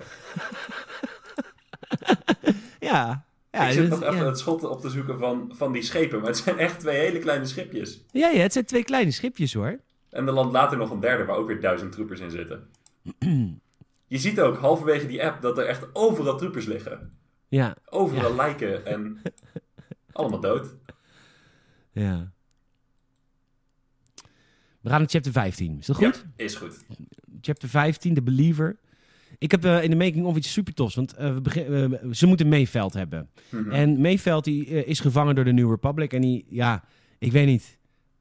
Ja. Ja, ik zit dit- nog even ja. het schot op te zoeken van, van die schepen. Maar het zijn echt twee hele kleine schipjes. Ja, ja, het zijn twee kleine schipjes hoor. En er landt later nog een derde waar ook weer duizend troepers in zitten. Je ziet ook halverwege die app dat er echt overal troepers liggen. Ja. Overal lijken en allemaal dood. ja. We gaan naar chapter 15. Is dat goed? Ja, is goed. Chapter 15, The Believer. Ik heb eh, in de making of iets super tofs, want eh, we begin- eh, ze moeten Mayveld hebben. Mhm. En Mayveld die, eh, is gevangen door de New Republic. En die, ja, ik weet niet.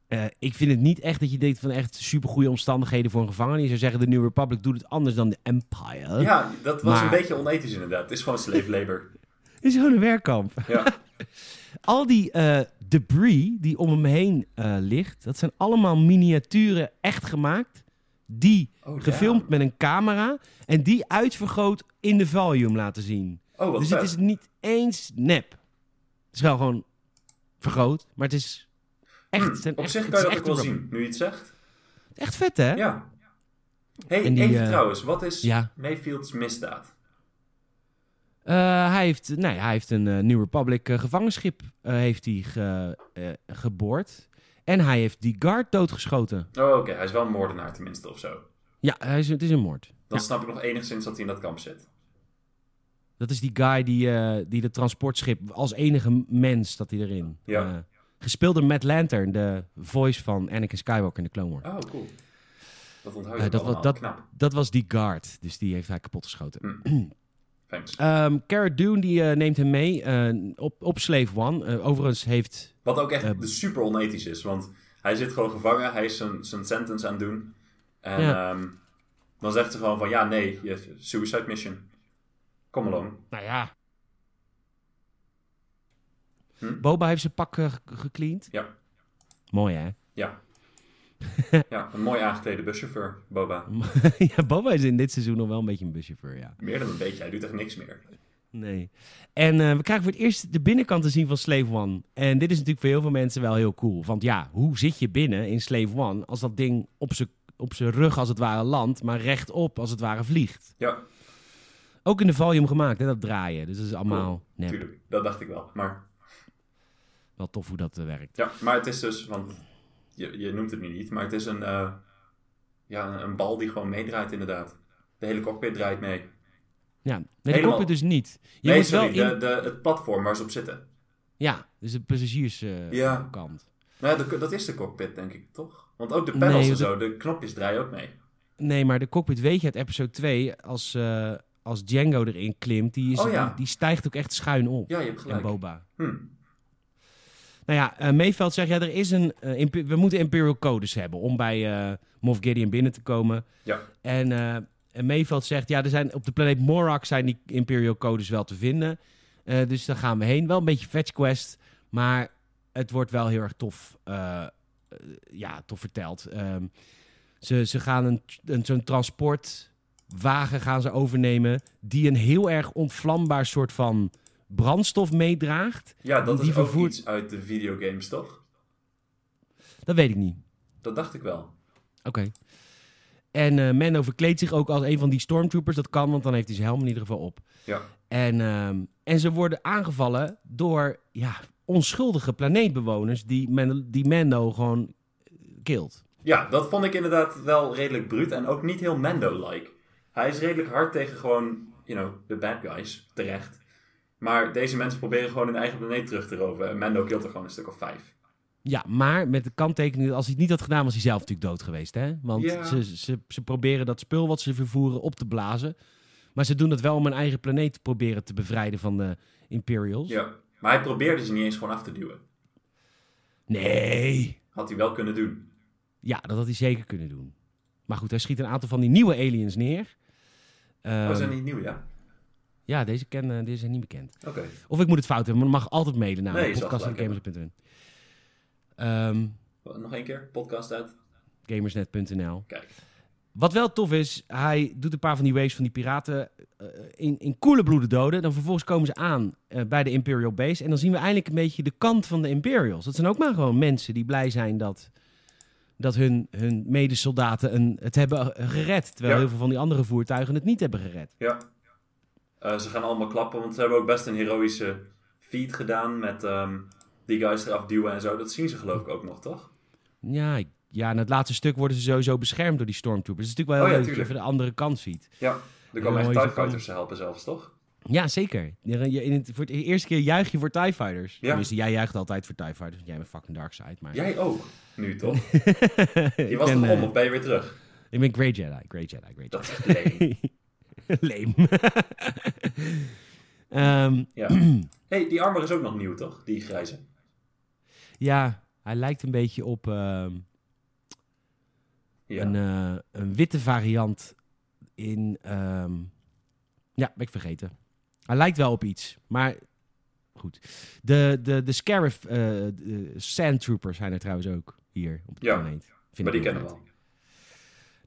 Eh, ik vind het niet echt dat je denkt van echt supergoeie omstandigheden voor een gevangene. Je zou zeggen, de New Republic doet het anders dan de Empire. Ja, dat was Maar- een beetje onethisch inderdaad. Het is gewoon slave labor. Het is gewoon een werkkamp. Ja. Al die eh, debris die om hem heen eh, ligt, dat zijn allemaal miniaturen echt gemaakt. Die Oh, gefilmd damn. met een camera en die uitvergroot in de volume laten zien. Oh, wat dus vet. het is niet eens nep. Het is wel gewoon vergroot, maar het is echt. Hm, het zijn op echt- zich het kan je is dat ook echt een wel rubber. zien, nu je het zegt. Echt vet, hè? Ja. Hey, En die, even eh, trouwens, wat is ja. Mayfield's misdaad? Eh, hij, heeft, nou ja, hij heeft een eh, New Republic eh, gevangenschip eh, heeft hij ge, eh, geboord. En hij heeft die guard doodgeschoten. Oh, oké, hij is wel een moordenaar tenminste of zo. Ja, hij is, het is een moord. Dan snap ik nog enigszins dat hij in dat kamp zit. Dat is die guy die, eh die dat transportschip als enige mens staat hij erin. Ja. Eh, gespeeld door Matt Lantern, de voice van Anakin Skywalker in de Clone Wars. Oh, cool. Dat onthoud je Eh, dat, dat, was- dat, knap. Mm. dat was die guard, dus die heeft hij kapotgeschoten. Thanks. Ehm Cara Dune die, eh, neemt hem mee eh, op, op Slave One. Eh, overigens heeft... Wat ook echt Eh, super onethisch is, want hij zit gewoon gevangen, hij is zijn, zijn sentence aan het doen. En Ja. ehm, dan zegt ze gewoon van, ja, nee, je- suicide mission. Kom along. Nou ja... Hm? Boba heeft zijn pak eh, ge- gecleand. Ja. Mooi hè? Ja. ja, een mooi aangeklede buschauffeur, Boba. ja, Boba is in dit seizoen nog wel een beetje een buschauffeur, ja. Meer dan een beetje, hij doet echt niks meer. Nee. En eh, we krijgen voor het eerst de binnenkant te zien van Slave One. En dit is natuurlijk voor heel veel mensen wel heel cool. Want ja, hoe zit je binnen in Slave One als dat ding op zijn op zijn rug als het ware landt, maar rechtop als het ware vliegt? Ja, Ook in de volume gemaakt, hè, dat draaien. Dus dat is allemaal nep. tuurlijk, dat dacht ik wel. Maar, Wel tof hoe dat eh, werkt. ja, maar het is dus, want je, je noemt het nu niet, maar het is een, eh, ja, een, een bal die gewoon meedraait inderdaad. De hele cockpit draait mee. Ja, nee, dat Helemaal. klopt het dus niet. Je nee, moet wel sorry, in... de, de, het platform waar ze op zitten. Ja, dus de passagierskant. Ja. kant. Nou, ja, de- dat is de cockpit, denk ik, toch? Want ook de pedals Nee, en dat- zo, de knopjes draaien ook mee. Nee, maar de cockpit weet je uit episode 2, als, eh, als Django erin klimt, die, is, Oh ja. die, die stijgt ook echt schuin op. Ja, je hebt en gelijk. Boba. Hm. Nou ja, eh Meeveld zegt, ja, er is een, eh, imp- we moeten Imperial Codes hebben om bij eh Moff Gideon binnen te komen. Ja. En, eh en Meeveld zegt, ja, er zijn, op de planeet Morak zijn die Imperial Codes wel te vinden. Eh, dus daar gaan we heen. Wel een beetje fetch quest, maar het wordt wel heel erg tof, eh, eh, ja, tof verteld. Ehm, ze, ze gaan een, een, zo'n transportwagen gaan ze overnemen die een heel erg ontvlambaar soort van brandstof meedraagt. Ja, dat Die is ook vervoert- iets uit de videogames, toch? Dat weet ik niet. Dat dacht ik wel. Oké. En eh Menno verkleedt zich ook als een van die stormtroopers. Dat kan, want dan heeft hij zijn helm in ieder geval op. Ja. En, ehm, en ze worden aangevallen door ja, onschuldige planeetbewoners die, Men die Menno gewoon eh, kilt. Ja, dat vond ik inderdaad wel redelijk bruut en ook niet heel Mando-like. Hij is redelijk hard tegen gewoon, you know, de bad guys, terecht. Maar deze mensen proberen gewoon hun eigen planeet terug te roven. En Mando killt er gewoon een stuk of vijf. Ja, maar met de kanttekening dat als hij het niet had gedaan, was hij zelf natuurlijk dood geweest. Hè? Want Ja. ze, ze, ze proberen dat spul wat ze vervoeren op te blazen. Maar ze doen dat wel om hun eigen planeet te proberen te bevrijden van de Imperials. Ja. Maar hij probeerde ze niet eens gewoon af te duwen. Nee, Had hij wel kunnen doen. Ja, dat had hij zeker kunnen doen. Maar goed, hij schiet een aantal van die nieuwe aliens neer. Ehm, Oh, zijn niet nieuw, ja? Ja, deze, ken, eh, deze zijn niet bekend. Oké. Of ik moet het fout hebben, maar dat mag altijd mailen naar Nee, je nee, zal gelijk podcast.gamers.nl. Ehm, Nog één keer, podcast uit. gamersnet.nl. Kijk. Wat wel tof is, hij doet een paar van die waves van die piraten eh, in, in koele bloeden doden. Dan vervolgens komen ze aan eh, bij de Imperial Base. En dan zien we eindelijk een beetje de kant van de Imperials. Dat zijn ook maar gewoon mensen die blij zijn dat, dat hun, hun medesoldaten een, het hebben eh, gered. Terwijl Ja. heel veel van die andere voertuigen het niet hebben gered. Ja. Eh, ze gaan allemaal klappen, want ze hebben ook best een heroïsche feat gedaan met ehm, die guys eraf duwen en zo. Dat zien ze geloof ik ook nog, toch? Ja, ik- ja, en het laatste stuk worden ze sowieso beschermd door die stormtroopers. Het is natuurlijk wel Oh ja, heel leuk dat je tuurlijk. even de andere kant ziet. Ja. Er dan komen echt hoor je ze TIE Fighters te helpen zelfs, toch? Ja, zeker. Je- je- In het, voor het de eerste keer juich je voor TIE Fighters. Ja. Tenminste, jij juicht altijd voor TIE Fighters. Jij bent fucking Darkseid, maar... Jij ook, nu toch? Ik Je was ben, toch eh, om of ben je weer terug? Ik ben Grey Jedi, Grey Jedy, Grey Jedi. Dat is lame. Leem. Ehm, Ja. hey, die armor is ook nog nieuw, toch? Die grijze. ja, hij lijkt een beetje op ehm, Ja. een, eh, een witte variant in... ehm, ja, ben ik vergeten. Hij lijkt wel op iets, maar goed. De, de, de Scarif eh, de Sandtroopers zijn er trouwens ook hier op het Ja, planeet. Vind maar ik die heel kennen we vet. al.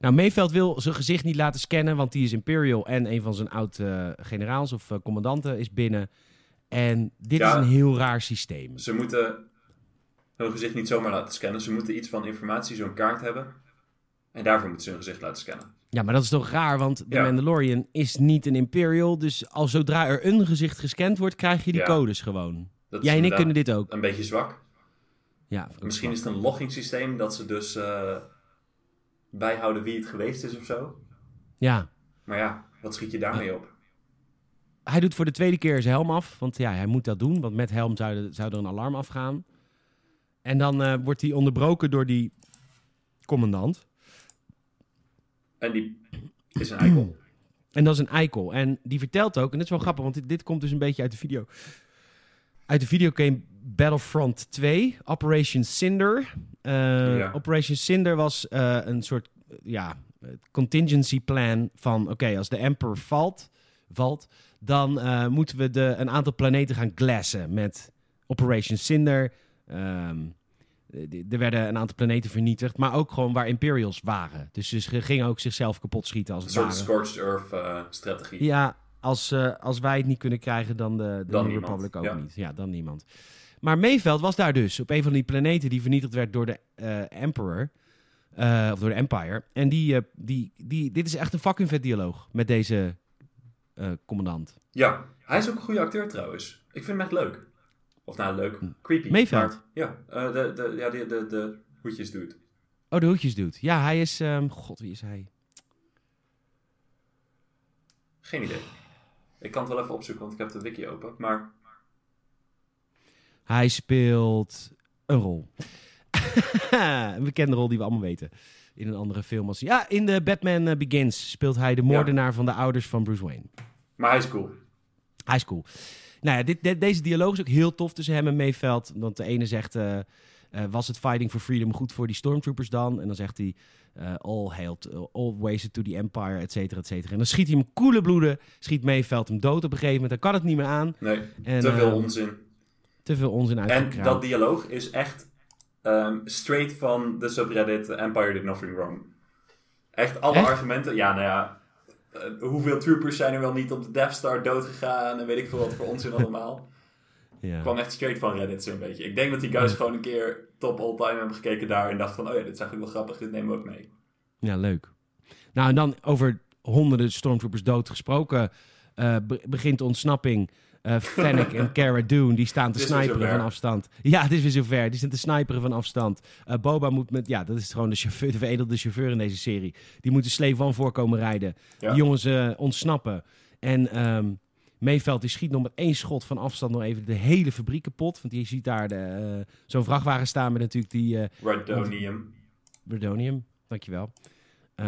Nou, Mayveld wil zijn gezicht niet laten scannen, want die is Imperial en een van zijn oud-generaals of eh, commandanten is binnen. En dit Ja. is een heel raar systeem. Ze moeten hun gezicht niet zomaar laten scannen. Ze moeten iets van informatie, zo'n kaart hebben. En daarvoor moeten ze hun gezicht laten scannen. Ja, maar dat is toch raar, want de Ja. Mandalorian is niet een Imperial. Dus al zodra er een gezicht gescand wordt, krijg je die Ja. codes gewoon. Jij Dat is en ik inderdaad kunnen dit ook. Een beetje zwak. Ja, vind ik ook Misschien wel. is het een logging systeem dat ze dus eh, bijhouden wie het geweest is of zo. Ja, Maar ja, wat schiet je daarmee op? hij doet voor de tweede keer zijn helm af, want ja, hij moet dat doen. Want met helm zou, er- zou er een alarm afgaan. En dan eh, wordt hij onderbroken door die commandant. En die is een eikel. En dat is een eikel. En die vertelt ook, en dat is wel grappig, want dit, dit komt dus een beetje uit de video. Uit de videogame Battlefront 2, Operation Cinder. Eh, Ja. Operation Cinder was eh, een soort eh, ja, eh, contingency plan van... oké, als de Emperor valt, valt dan eh, moeten we de, een aantal planeten gaan glassen met Operation Cinder. Ehm, eh, d- er werden een aantal planeten vernietigd, maar ook gewoon waar Imperials waren. Dus ze gingen ook zichzelf kapot schieten als Een het soort ware. scorched earth eh, strategie. Ja, als, eh, als wij het niet kunnen krijgen, dan de, de Dan New niemand, Republic ook ja. niet. Ja, dan niemand. Maar Mayveld was daar dus, op een van die planeten die vernietigd werd door de eh, Emperor. eh, of door de Empire. En die, eh, die, die, dit is echt een fucking vet dialoog met deze eh, commandant. Ja, hij is ook een goede acteur trouwens. Ik vind hem echt leuk. Of nou, leuk. Hm. Creepy. Meeveld. maar- Ja, eh, de, de, ja de, de, de hoedjes doet. Oh, de hoedjes doet. Ja, hij is... ehm, God, wie is hij? Geen idee. Ik kan het wel even opzoeken, want ik heb de wiki open. Maar Hij speelt een rol. een bekende rol die we allemaal weten. In een andere film. Als... Ja, in de Batman eh, Begins speelt hij de moordenaar van de ouders van Bruce Wayne. Maar hij is cool. Hij is cool. Nou ja, dit, de- deze dialoog is ook heel tof tussen hem en Mayveld. Want de ene zegt, eh, eh, was het Fighting for Freedom goed voor die stormtroopers dan? En dan zegt hij, eh, all hail, to, all ways to the empire, et cetera, et cetera. En dan schiet hij hem koele bloeden, schiet Mayveld hem dood op een gegeven moment. Dan kan het niet meer aan. Nee, En, te veel eh, onzin. Te veel onzin En uitgekraamd. dat dialoog is echt ehm, straight van de subreddit Empire Did Nothing Wrong. Echt alle Echt? argumenten. Ja, nou ja. eh, hoeveel troopers zijn er wel niet op de Death Star doodgegaan? En weet ik veel wat voor onzin allemaal. Ja. kwam echt straight van Reddit zo'n beetje. Ik denk dat die Hmm. guys gewoon een keer top all-time hebben gekeken daar en dachten van, oh ja, dit is eigenlijk wel grappig, dit nemen we ook mee. Ja, leuk. Nou, en dan over honderden stormtroopers dood gesproken... eh, be- begint de ontsnapping. Eh Fennec en Cara Dune, die staan te Het is weer sniperen zover. van afstand. Ja, het is weer zover. Die staan te sniperen van afstand. Eh, Boba moet met... Ja, dat is gewoon de, chauffeur, de veredelde chauffeur in deze serie. Die moet de slee van voorkomen rijden. Ja. Die jongens eh, ontsnappen. En ehm Meeveld die schiet nog met één schot van afstand nog even de hele fabriek kapot. Want je ziet daar de, eh, zo'n vrachtwagen staan met natuurlijk die... eh, Radonium. Bredonium, dankjewel. Eh,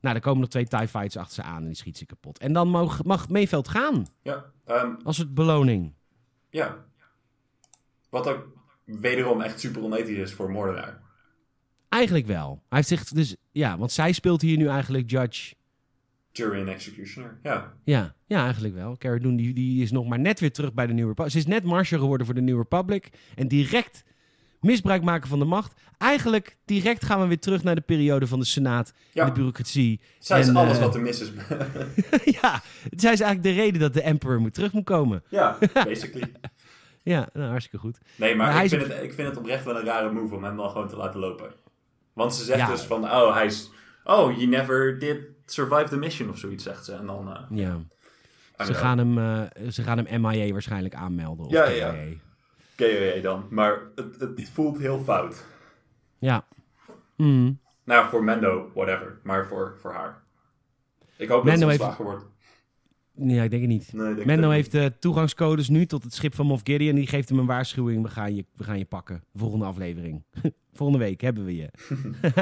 nou, er komen nog twee TIE Fights achter ze aan en die schiet ze kapot. En dan mag, mag Meeveld gaan, Ja, ehm, als het beloning. ja. Wat ook wederom echt super onethisch is voor moordenaar. Eigenlijk wel. Hij heeft zich dus... Ja, want zij speelt hier nu eigenlijk Judge... Jury and executioner. Ja, Ja, ja eigenlijk wel. Cara Dune die, die is nog maar net weer terug bij de New Republic. Ze is net Marshal geworden voor de New Republic. En direct misbruik maken van de macht. Eigenlijk direct gaan we weer terug naar de periode van de Senaat Ja. en de bureaucratie. zij is En, alles eh, wat er mis is. ja, zij is eigenlijk de reden dat de Emperor moet terug moet komen. ja, basically. Ja, nou, hartstikke goed. Nee, Maar maar, hij ik, is- vind het, ik vind het oprecht wel een rare move om hem dan gewoon te laten lopen. Want ze zegt Ja. dus van, oh, hij is... Oh, you never did survive the mission of zoiets, zegt ze. En dan... eh, Ja. Ze I don't gaan, hem, eh, ze gaan hem MIA waarschijnlijk aanmelden. Of Ah, Ja, TIA. ja, ja. KOA dan. Maar het, het voelt heel fout. Ja. Mm. Nou, ja, voor Mendo, whatever. Maar voor, voor haar. Ik hoop Mando dat heeft- ze ontslagen wordt. Nee, ik denk het niet. Nee, ik denk het Menno ook heeft de toegangscodes nu tot het schip van Moff Gideon. Die geeft hem een waarschuwing. We gaan je, we gaan je pakken. Volgende aflevering. Volgende week hebben we je.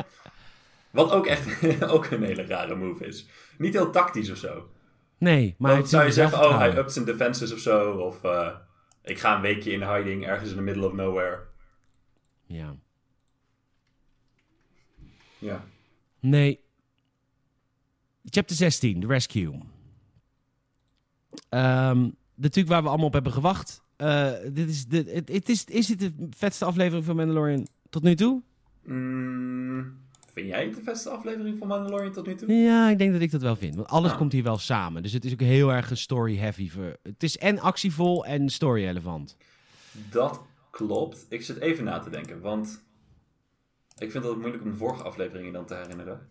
Wat ook echt ook een hele rare move is. Niet heel tactisch of zo. Nee, maar dan het zou je is wel zeggen, oh, hij vertrouwen. ups zijn defenses of zo. Of eh, ik ga een weekje in hiding ergens in the middle of nowhere. Ja. Ja. Nee. Chapter 16, The Rescue. Ehm, natuurlijk waar we allemaal op hebben gewacht. Eh, dit is, de, het, het is, is dit de vetste aflevering van Mandalorian tot nu toe? Mm, vind jij het de beste aflevering van Mandalorian tot nu toe? Ja, ik denk dat ik dat wel vind. Want alles Ah. komt hier wel samen. Dus het is ook heel erg een story-heavy. ver- Het is en actievol en story-relevant. Dat klopt. Ik zit even na te denken, want ik vind het moeilijk om de vorige afleveringen dan te herinneren.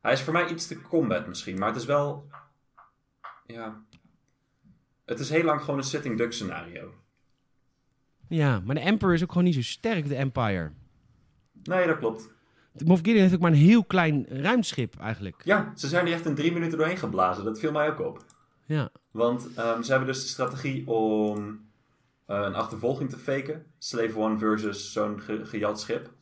Hij is voor mij iets te combat misschien, maar het is wel. Ja. Het is heel lang gewoon een sitting duck scenario. Ja, maar de Emperor is ook gewoon niet zo sterk, de Empire. Nee, dat klopt. De Moff Gideon heeft ook maar een heel klein ruimschip eigenlijk. Ja, ze zijn er echt in drie minuten doorheen geblazen. Dat viel mij ook op. Ja. Want ehm, ze hebben dus de strategie om eh, een achtervolging te faken. Slave One versus zo'n ge- gejat schip.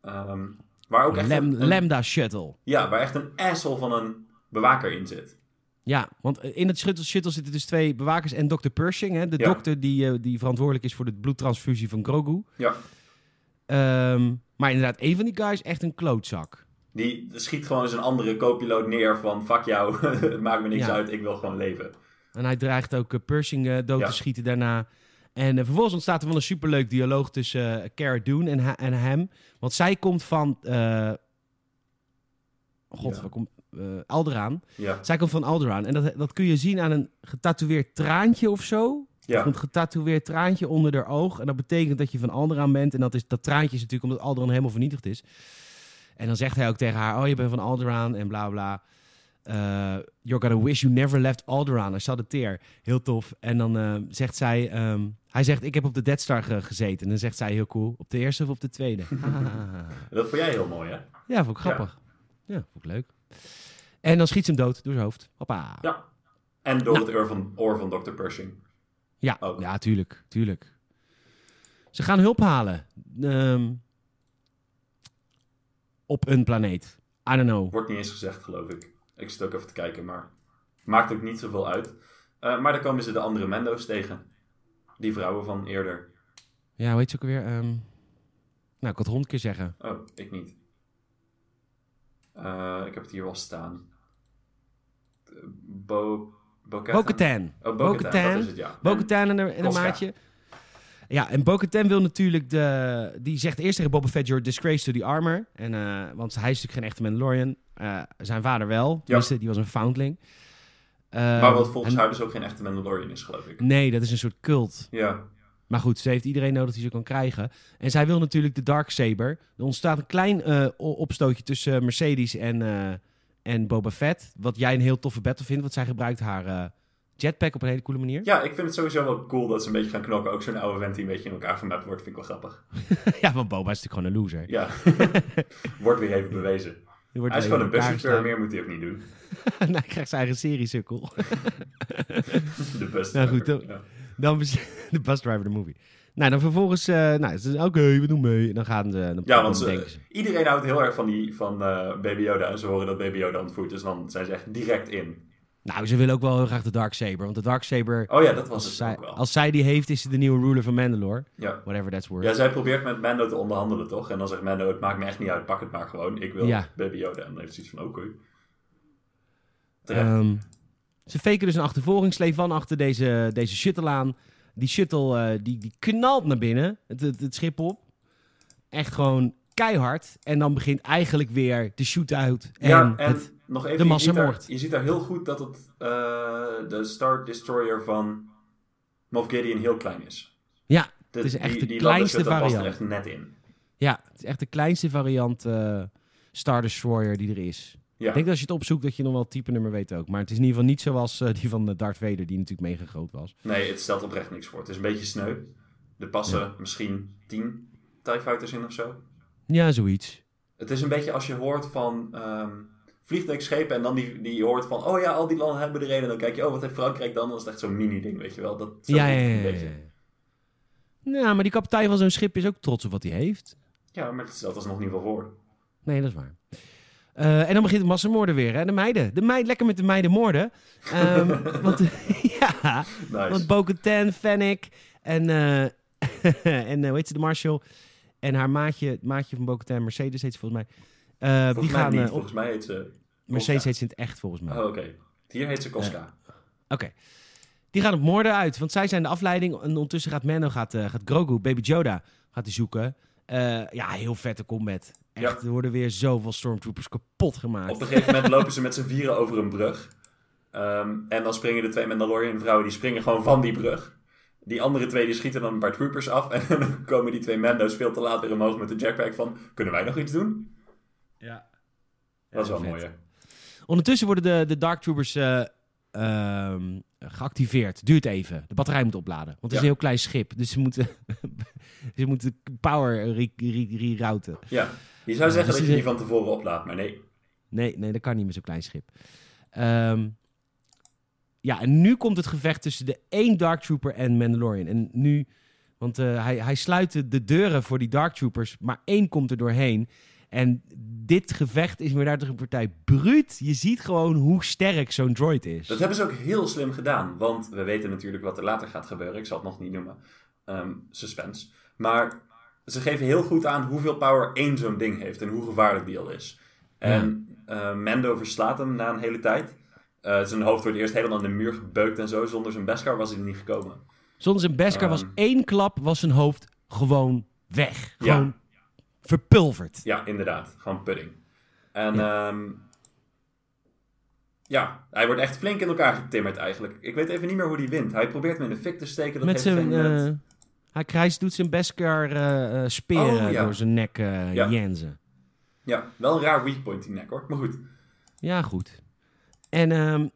Ehm, waar ook echt Lem- een- een- Lambda Shuttle. Ja, waar echt een asshole van een bewaker in zit. Ja, want eh, in het shuttle, shuttle zitten dus twee bewakers en Dr. Pershing. Hè, de Ja. dokter die, eh, die verantwoordelijk is voor de bloedtransfusie van Grogu. Ja. Ehm, maar inderdaad, één van die guys echt een klootzak. Die schiet gewoon zijn andere co-piloot neer van... Fuck jou, het maakt me niks Ja. uit, ik wil gewoon leven. En hij dreigt ook eh, Pershing eh, dood Ja. te schieten daarna. En eh, vervolgens ontstaat er wel een superleuk dialoog tussen eh, Cara Dune en, ha- en hem. Want zij komt van... eh, God, Ja. waar komt... eh Alderaan. Ja. Zij komt van Alderaan. En dat, dat kun je zien aan een getatoeëerd traantje of zo. ja. Een getatoeëerd traantje onder haar oog. En dat betekent dat je van Alderaan bent. En dat, is, dat traantje is natuurlijk omdat Alderaan helemaal vernietigd is. En dan zegt hij ook tegen haar: Oh, je bent van Alderaan en bla bla. Eh, you're gonna wish you never left Alderaan. Hij staat het teer. Heel tof. En dan eh, zegt zij: ehm, Hij zegt: Ik heb op de Dead Star ge- gezeten. En dan zegt zij heel cool: Op de eerste of op de tweede? Ah. Dat vond jij heel mooi, hè? ja, vond ik grappig. Ja. vond ik leuk. En dan schiet ze hem dood door zijn hoofd. Hoppa. Ja. Nou. En door het oor van, oor van Dr. Pershing. Ja, Ook. ja tuurlijk, tuurlijk. Ze gaan hulp halen. Ehm, op een planeet. I don't know. Wordt niet eens gezegd, geloof ik. Ik zit ook even te kijken, maar... Maakt ook niet zoveel uit. Eh, maar dan komen ze de andere Mendo's tegen. Die vrouwen van eerder. Ja, hoe heet ze ook alweer? Ehm, nou, ik had honderd keer zeggen. Oh, ik niet. Eh, ik heb het hier wel staan. Eh, Bo... Bo-Katan? Bo-Katan. Oh, Bo-Katan, dat Bo-Katan. is het, ja. Bo-Katan en een en een Koska. maatje. Ja, en Bo-Katan wil natuurlijk de... Die zegt eerst tegen Boba Fett, you're a disgrace to the armor. En, eh, want hij is natuurlijk geen echte Mandalorian. Eh, zijn vader wel. Tenminste, die was een foundling. Maar wat volgens en- haar dus ook geen echte Mandalorian is, geloof ik. Nee, dat is een soort cult. Ja, Maar goed, ze heeft iedereen nodig die ze kan krijgen. En zij wil natuurlijk de Dark Saber. Er ontstaat een klein eh, o- opstootje tussen eh, Mercedes en, eh, en Boba Fett. Wat jij een heel toffe battle vindt, want zij gebruikt haar eh, jetpack op een hele coole manier. ja, ik vind het sowieso wel cool dat ze een beetje gaan knokken. Ook zo'n oude vent die een beetje in elkaar gemapt wordt, vind ik wel grappig. ja, want Boba is natuurlijk gewoon een loser. Ja, wordt weer even bewezen. Die wordt Hij is alleen gewoon een in elkaar buschauffeur, geslaan. meer moet hij ook niet doen. en hij krijgt zijn eigen serie, sukkel. De bus. Nou goed, dan- Ja. Dan bes- de bus driver, de movie. Nou, dan vervolgens... eh, nou, ze zeggen, oké, we doen mee. En dan gaan ze... Dan, Ja, dan want ze- denken ze- iedereen houdt heel erg van, die, van eh Baby Yoda en ze horen dat Baby Yoda ontvoerd is, dan zijn ze echt direct in. Nou, ze willen ook wel heel graag de Dark Saber. Want de Dark Saber, Oh ja, dat was als het zij, ook wel. als zij die heeft, is ze de nieuwe ruler van Mandalore. Ja. Whatever that's worth. ja, zij probeert met Mando te onderhandelen, toch? En dan zegt Mando, het maakt me echt niet uit, pak het maar gewoon. Ik wil Ja. Baby Yoda. En dan heeft ze iets van, oké. Terecht. Ehm, ze faken dus een achtervolging. Sleef van achter deze, deze shuttle aan. Die shuttle eh, die, die knalt naar binnen. Het, het, het schip op. Echt gewoon keihard. En dan begint eigenlijk weer de shootout. En, ja, en het- nog even, de je, ziet daar, massamoord. je ziet daar heel goed dat het, eh, de Star Destroyer van Moff Gideon heel klein is. ja, De- Het is echt de die, die kleinste lander shuttle variant. past er echt net in. ja, het is echt de kleinste variant eh, Star Destroyer die er is. Ja. Ik denk dat als je het opzoekt dat je nog wel het type nummer weet ook. Maar het is in ieder geval niet zoals eh, die van eh, Darth Vader die natuurlijk mega groot was. Nee, het stelt oprecht niks voor. Het is een beetje sneu. Er passen misschien tien TIE Fighters in of zo. Ja, zoiets. Het is een beetje als je hoort van ehm vliegtuigschepen en dan die, die hoort van... Oh ja, al die landen hebben er een. En dan kijk je, oh, wat heeft Frankrijk dan? Dat is het echt zo'n mini-ding, weet je wel. Dat, zo Ja, voelt ja, het een ja, ja. beetje. Nou, maar die kapitein van zo'n schip is ook trots op wat hij heeft. ja, maar het stelt alsnog niet wel voor. Nee, dat is waar. Eh, en dan begint het massamoorden weer. Hè? De meiden. De meid, lekker met de meiden moorden. Ehm, want, ja, want Nice. Bo-Katan, Fennec en, eh, en eh, hoe heet ze, de Marshall. En haar maatje, het maatje van Bo-Katan, Mercedes heet ze volgens mij. Eh, die Volgens mij gaan niet. eh, op. Volgens mij heet ze... Mercedes Koska. heet ze in het echt volgens mij. Oh, oké. Hier heet ze Koska. Oké. Die gaan op moorden uit, want zij zijn de afleiding. En ondertussen gaat Menno, gaat, eh, gaat Grogu, Baby Yoda, gaat die zoeken. Eh, ja, heel vette combat. Echt, er worden weer zoveel stormtroopers kapot gemaakt. Op een gegeven moment lopen ze met z'n vieren over een brug. Ehm, en dan springen de twee Mandalorian vrouwen, die springen gewoon van die brug. Die andere twee die schieten dan een paar troopers af. En dan komen die twee Mando's veel te laat weer omhoog met de jackpack van... Kunnen wij nog iets doen? Ja. Dat is wel vet. mooi, hè? Ondertussen worden de, de Dark Troopers eh, ehm, geactiveerd. Duurt even. De batterij moet opladen. Want het is Ja. een heel klein schip. Dus ze moeten, ze moeten power re- re- rerouten. Ja. Je zou dus zeggen dat je die- die van tevoren oplaadt, maar nee. Nee, nee, dat kan niet met zo'n klein schip. Ehm, ja, en nu komt het gevecht tussen de één Dark Trooper en Mandalorian. En nu, want eh, hij, hij sluit de- de deuren voor die Dark Troopers, maar één komt er doorheen. En dit gevecht is meer daar toch een partij bruut. Je ziet gewoon hoe sterk zo'n droid is. Dat hebben ze ook heel slim gedaan, want we weten natuurlijk wat er later gaat gebeuren. Ik zal het nog niet noemen. Ehm, suspense. Maar ze geven heel goed aan hoeveel power één zo'n ding heeft en hoe gevaarlijk die al is. En eh, Mando verslaat hem na een hele tijd. Eh, zijn hoofd wordt eerst helemaal aan de muur gebeukt en zo. Zonder zijn Beskar was hij er niet gekomen. Zonder zijn Beskar was Ehm. één klap, was zijn hoofd gewoon weg. Ja. Gewoon verpulverd. Ja, inderdaad. Gewoon pudding. En ja. ja, hij wordt echt flink in elkaar getimmerd eigenlijk. Ik weet even niet meer hoe hij wint. Hij probeert hem in de fik te steken. Dat Met heeft zijn. geen, eh, eh, hij krijgt, doet zijn Beskar eh, eh, speren Oh, ja. door zijn nek eh Ja. jensen. Ja, wel een raar weak point die nek hoor. Maar goed. Ja, goed. En ehm,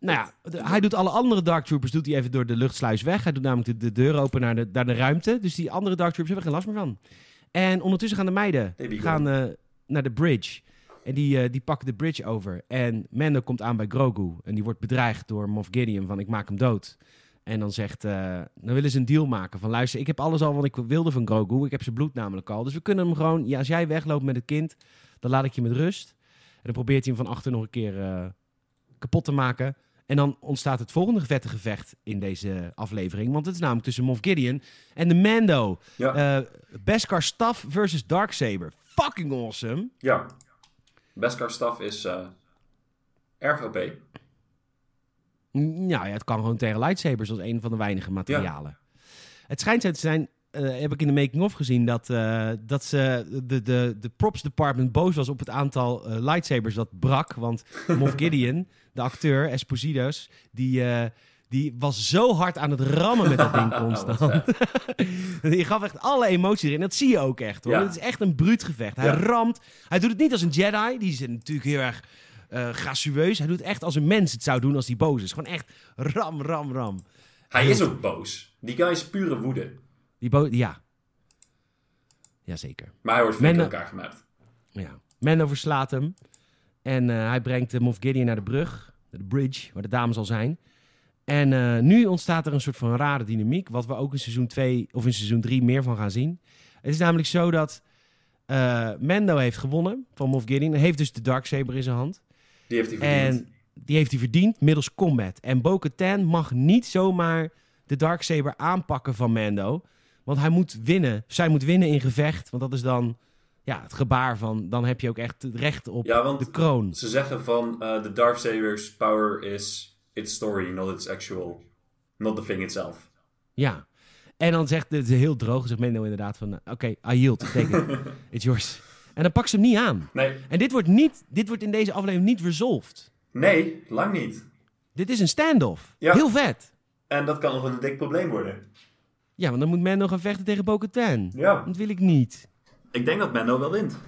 nou ja, de- hij doet alle andere Dark Troopers doet hij even door de luchtsluis weg. Hij doet namelijk de, de deur open naar de, naar de ruimte. Dus die andere Dark Troopers hebben er geen last meer van. En ondertussen gaan de meiden They be gaan, eh, naar de bridge. En die, eh, die pakken de bridge over. En Mando komt aan bij Grogu. En die wordt bedreigd door Moff Gideon van ik maak hem dood. En dan zegt, eh, dan willen ze een deal maken. Van luister, ik heb alles al wat ik wilde van Grogu. Ik heb zijn bloed namelijk al. Dus we kunnen hem gewoon, ja, als jij wegloopt met het kind, dan laat ik je met rust. En dan probeert hij hem van achter nog een keer eh, kapot te maken. En dan ontstaat het volgende vette gevecht in deze aflevering. Want het is namelijk tussen Moff Gideon en de Mando. Ja. Eh, Beskar Staff versus Darksaber. Fucking awesome. Ja. Beskar staf is eh erg OP. Mm, Nou ja, het kan gewoon tegen lightsabers als een van de weinige materialen. Het schijnt zo te zijn, eh, heb ik in de making-of gezien, dat, eh, dat ze de, de, de props department boos was op het aantal eh, lightsabers dat brak. Want Moff Gideon, de acteur, Espositos, die, eh, die was zo hard aan het rammen met dat ding constant. Oh, Wat vet. Je gaf echt alle emoties erin. Dat zie je ook echt hoor. Ja. Het is echt een bruut gevecht. Hij Ja. ramt. Hij doet het niet als een Jedi. Die is natuurlijk heel erg eh gracieus. Hij doet het echt als een mens het zou doen als hij boos is. Gewoon echt ram, ram, ram. Hij is ook boos. Die guy is pure woede. Die bo ja. Jazeker. Maar hij wordt flink in Menne- elkaar gemaakt. Ja. Mando verslaat hem. En eh, hij brengt de Moff Gideon naar de brug. De bridge, waar de dames al zijn. En eh, nu ontstaat er een soort van rare dynamiek. Wat we ook in seizoen 2 of in seizoen 3 meer van gaan zien. Het is namelijk zo dat eh, Mando heeft gewonnen van Moff Gideon. Hij heeft dus de Darksaber in zijn hand. Die heeft hij verdiend. En die heeft hij verdiend middels combat. En Bo-Katan mag niet zomaar de Darksaber aanpakken van Mando. Want hij moet winnen. Zij moet winnen in gevecht. Want dat is dan ja, het gebaar van... Dan heb je ook echt het recht op Ja, want de kroon. ze zeggen van eh, de Darksaber's power is its story, not its actual, not the thing itself. Ja. En dan zegt het heel droog, zegt Mendo inderdaad van... eh, Oké, I yield, take it. It's yours. En dan pakt ze hem niet aan. Nee, En dit wordt, niet, dit wordt in deze aflevering niet resolved. nee, lang niet. Dit is een standoff. Ja. Heel vet. En dat kan nog een dik probleem worden. Ja, want dan moet Mendo gaan vechten tegen Bo-Katan. Ja. Dat wil ik niet. Ik denk dat Mendo wel wint.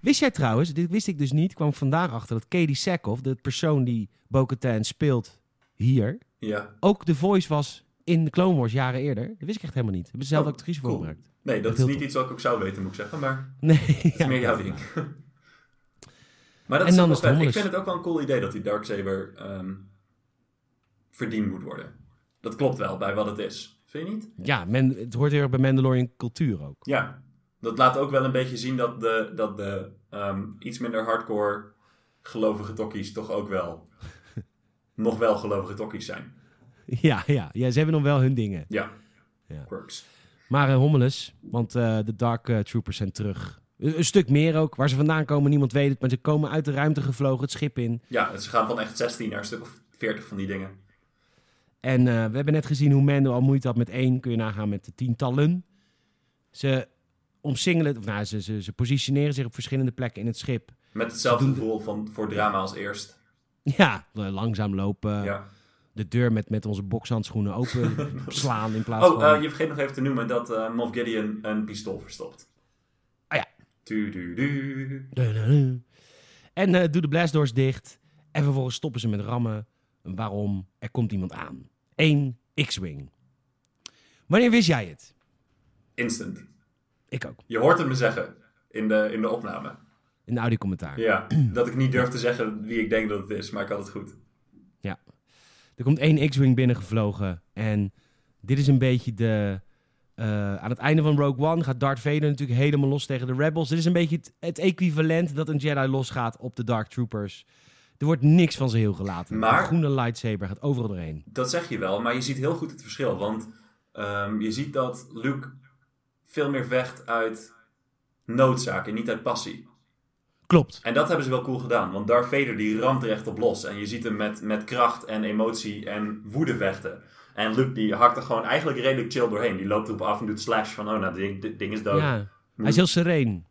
Wist jij trouwens, dit wist ik dus niet, kwam ik vandaag achter dat Katie Sackhoff, de persoon die Bo-Katan speelt hier, Ja. ook de voice was in de Clone Wars jaren eerder. Dat wist ik echt helemaal niet. Hebben ze zelf Oh, actrice voor cool. gebruikt. Nee, dat is heel niet iets wat ik ook zou weten, moet ik zeggen, maar... Nee, Dat is ja. meer jouw ding. maar dat En is dan wel is het vet. Ik hommeles. vind het ook wel een cool idee dat die Darksaber ehm verdiend moet worden. Dat klopt wel bij wat het is. Vind je niet? ja men, het hoort heel erg bij Mandalorian cultuur ook. Ja. dat laat ook wel een beetje zien dat de, dat de ehm, iets minder hardcore gelovige tokkies toch ook wel nog wel gelovige tokkies zijn. Ja, ja, ja, ze hebben nog wel hun dingen. Ja. Ja. Quirks. Maar eh, Hommelus, want eh, de Dark eh, Troopers zijn terug. Een, een stuk meer ook. Waar ze vandaan komen, niemand weet het. Maar ze komen uit de ruimte gevlogen, het schip in. Ja, ze gaan van echt 16 naar een stuk of 40 van die dingen. En eh, we hebben net gezien hoe Mando al moeite had met één. Kun je nagaan met de tientallen. Ze omsingelen, of nou, ze, ze, ze positioneren zich op verschillende plekken in het schip. Met hetzelfde gevoel van voor drama als eerst. Ja, eh, langzaam lopen. Ja. De deur met, met onze bokshandschoenen open slaan in plaats Oh, van... eh, je vergeet nog even te noemen dat eh Moff Gideon een pistool verstopt. Ah ja. Du, du, du. Dududu. En eh, doe de blastdoors dicht. En vervolgens stoppen ze met rammen. Waarom? Er komt iemand aan. Eén X-Wing. Wanneer wist jij het? Instant. Ik ook. Je hoort het me zeggen in de, in de opname. In de audio-commentaar. Ja, dat ik niet durf te zeggen wie ik denk dat het is, maar ik had het goed. Er komt één X-Wing binnengevlogen. En dit is een beetje de... eh, aan het einde van Rogue One gaat Darth Vader natuurlijk helemaal los tegen de Rebels. Dit is een beetje het, het equivalent dat een Jedi losgaat op de Dark Troopers. Er wordt niks van ze heel gelaten. Maar- De groene lightsaber gaat overal doorheen. Dat zeg je wel, maar je ziet heel goed het verschil. Want ehm, je ziet dat Luke veel meer vecht uit noodzaak en niet uit passie. Klopt. En dat hebben ze wel cool gedaan. Want Darth Vader die ramt er echt op los. En je ziet hem met, met kracht en emotie en woede vechten. En Luke die hakt er gewoon eigenlijk redelijk chill doorheen. Die loopt erop af en doet slash van... Oh, nou, dit dit ding is dood. Ja. Ja. Hij is heel sereen.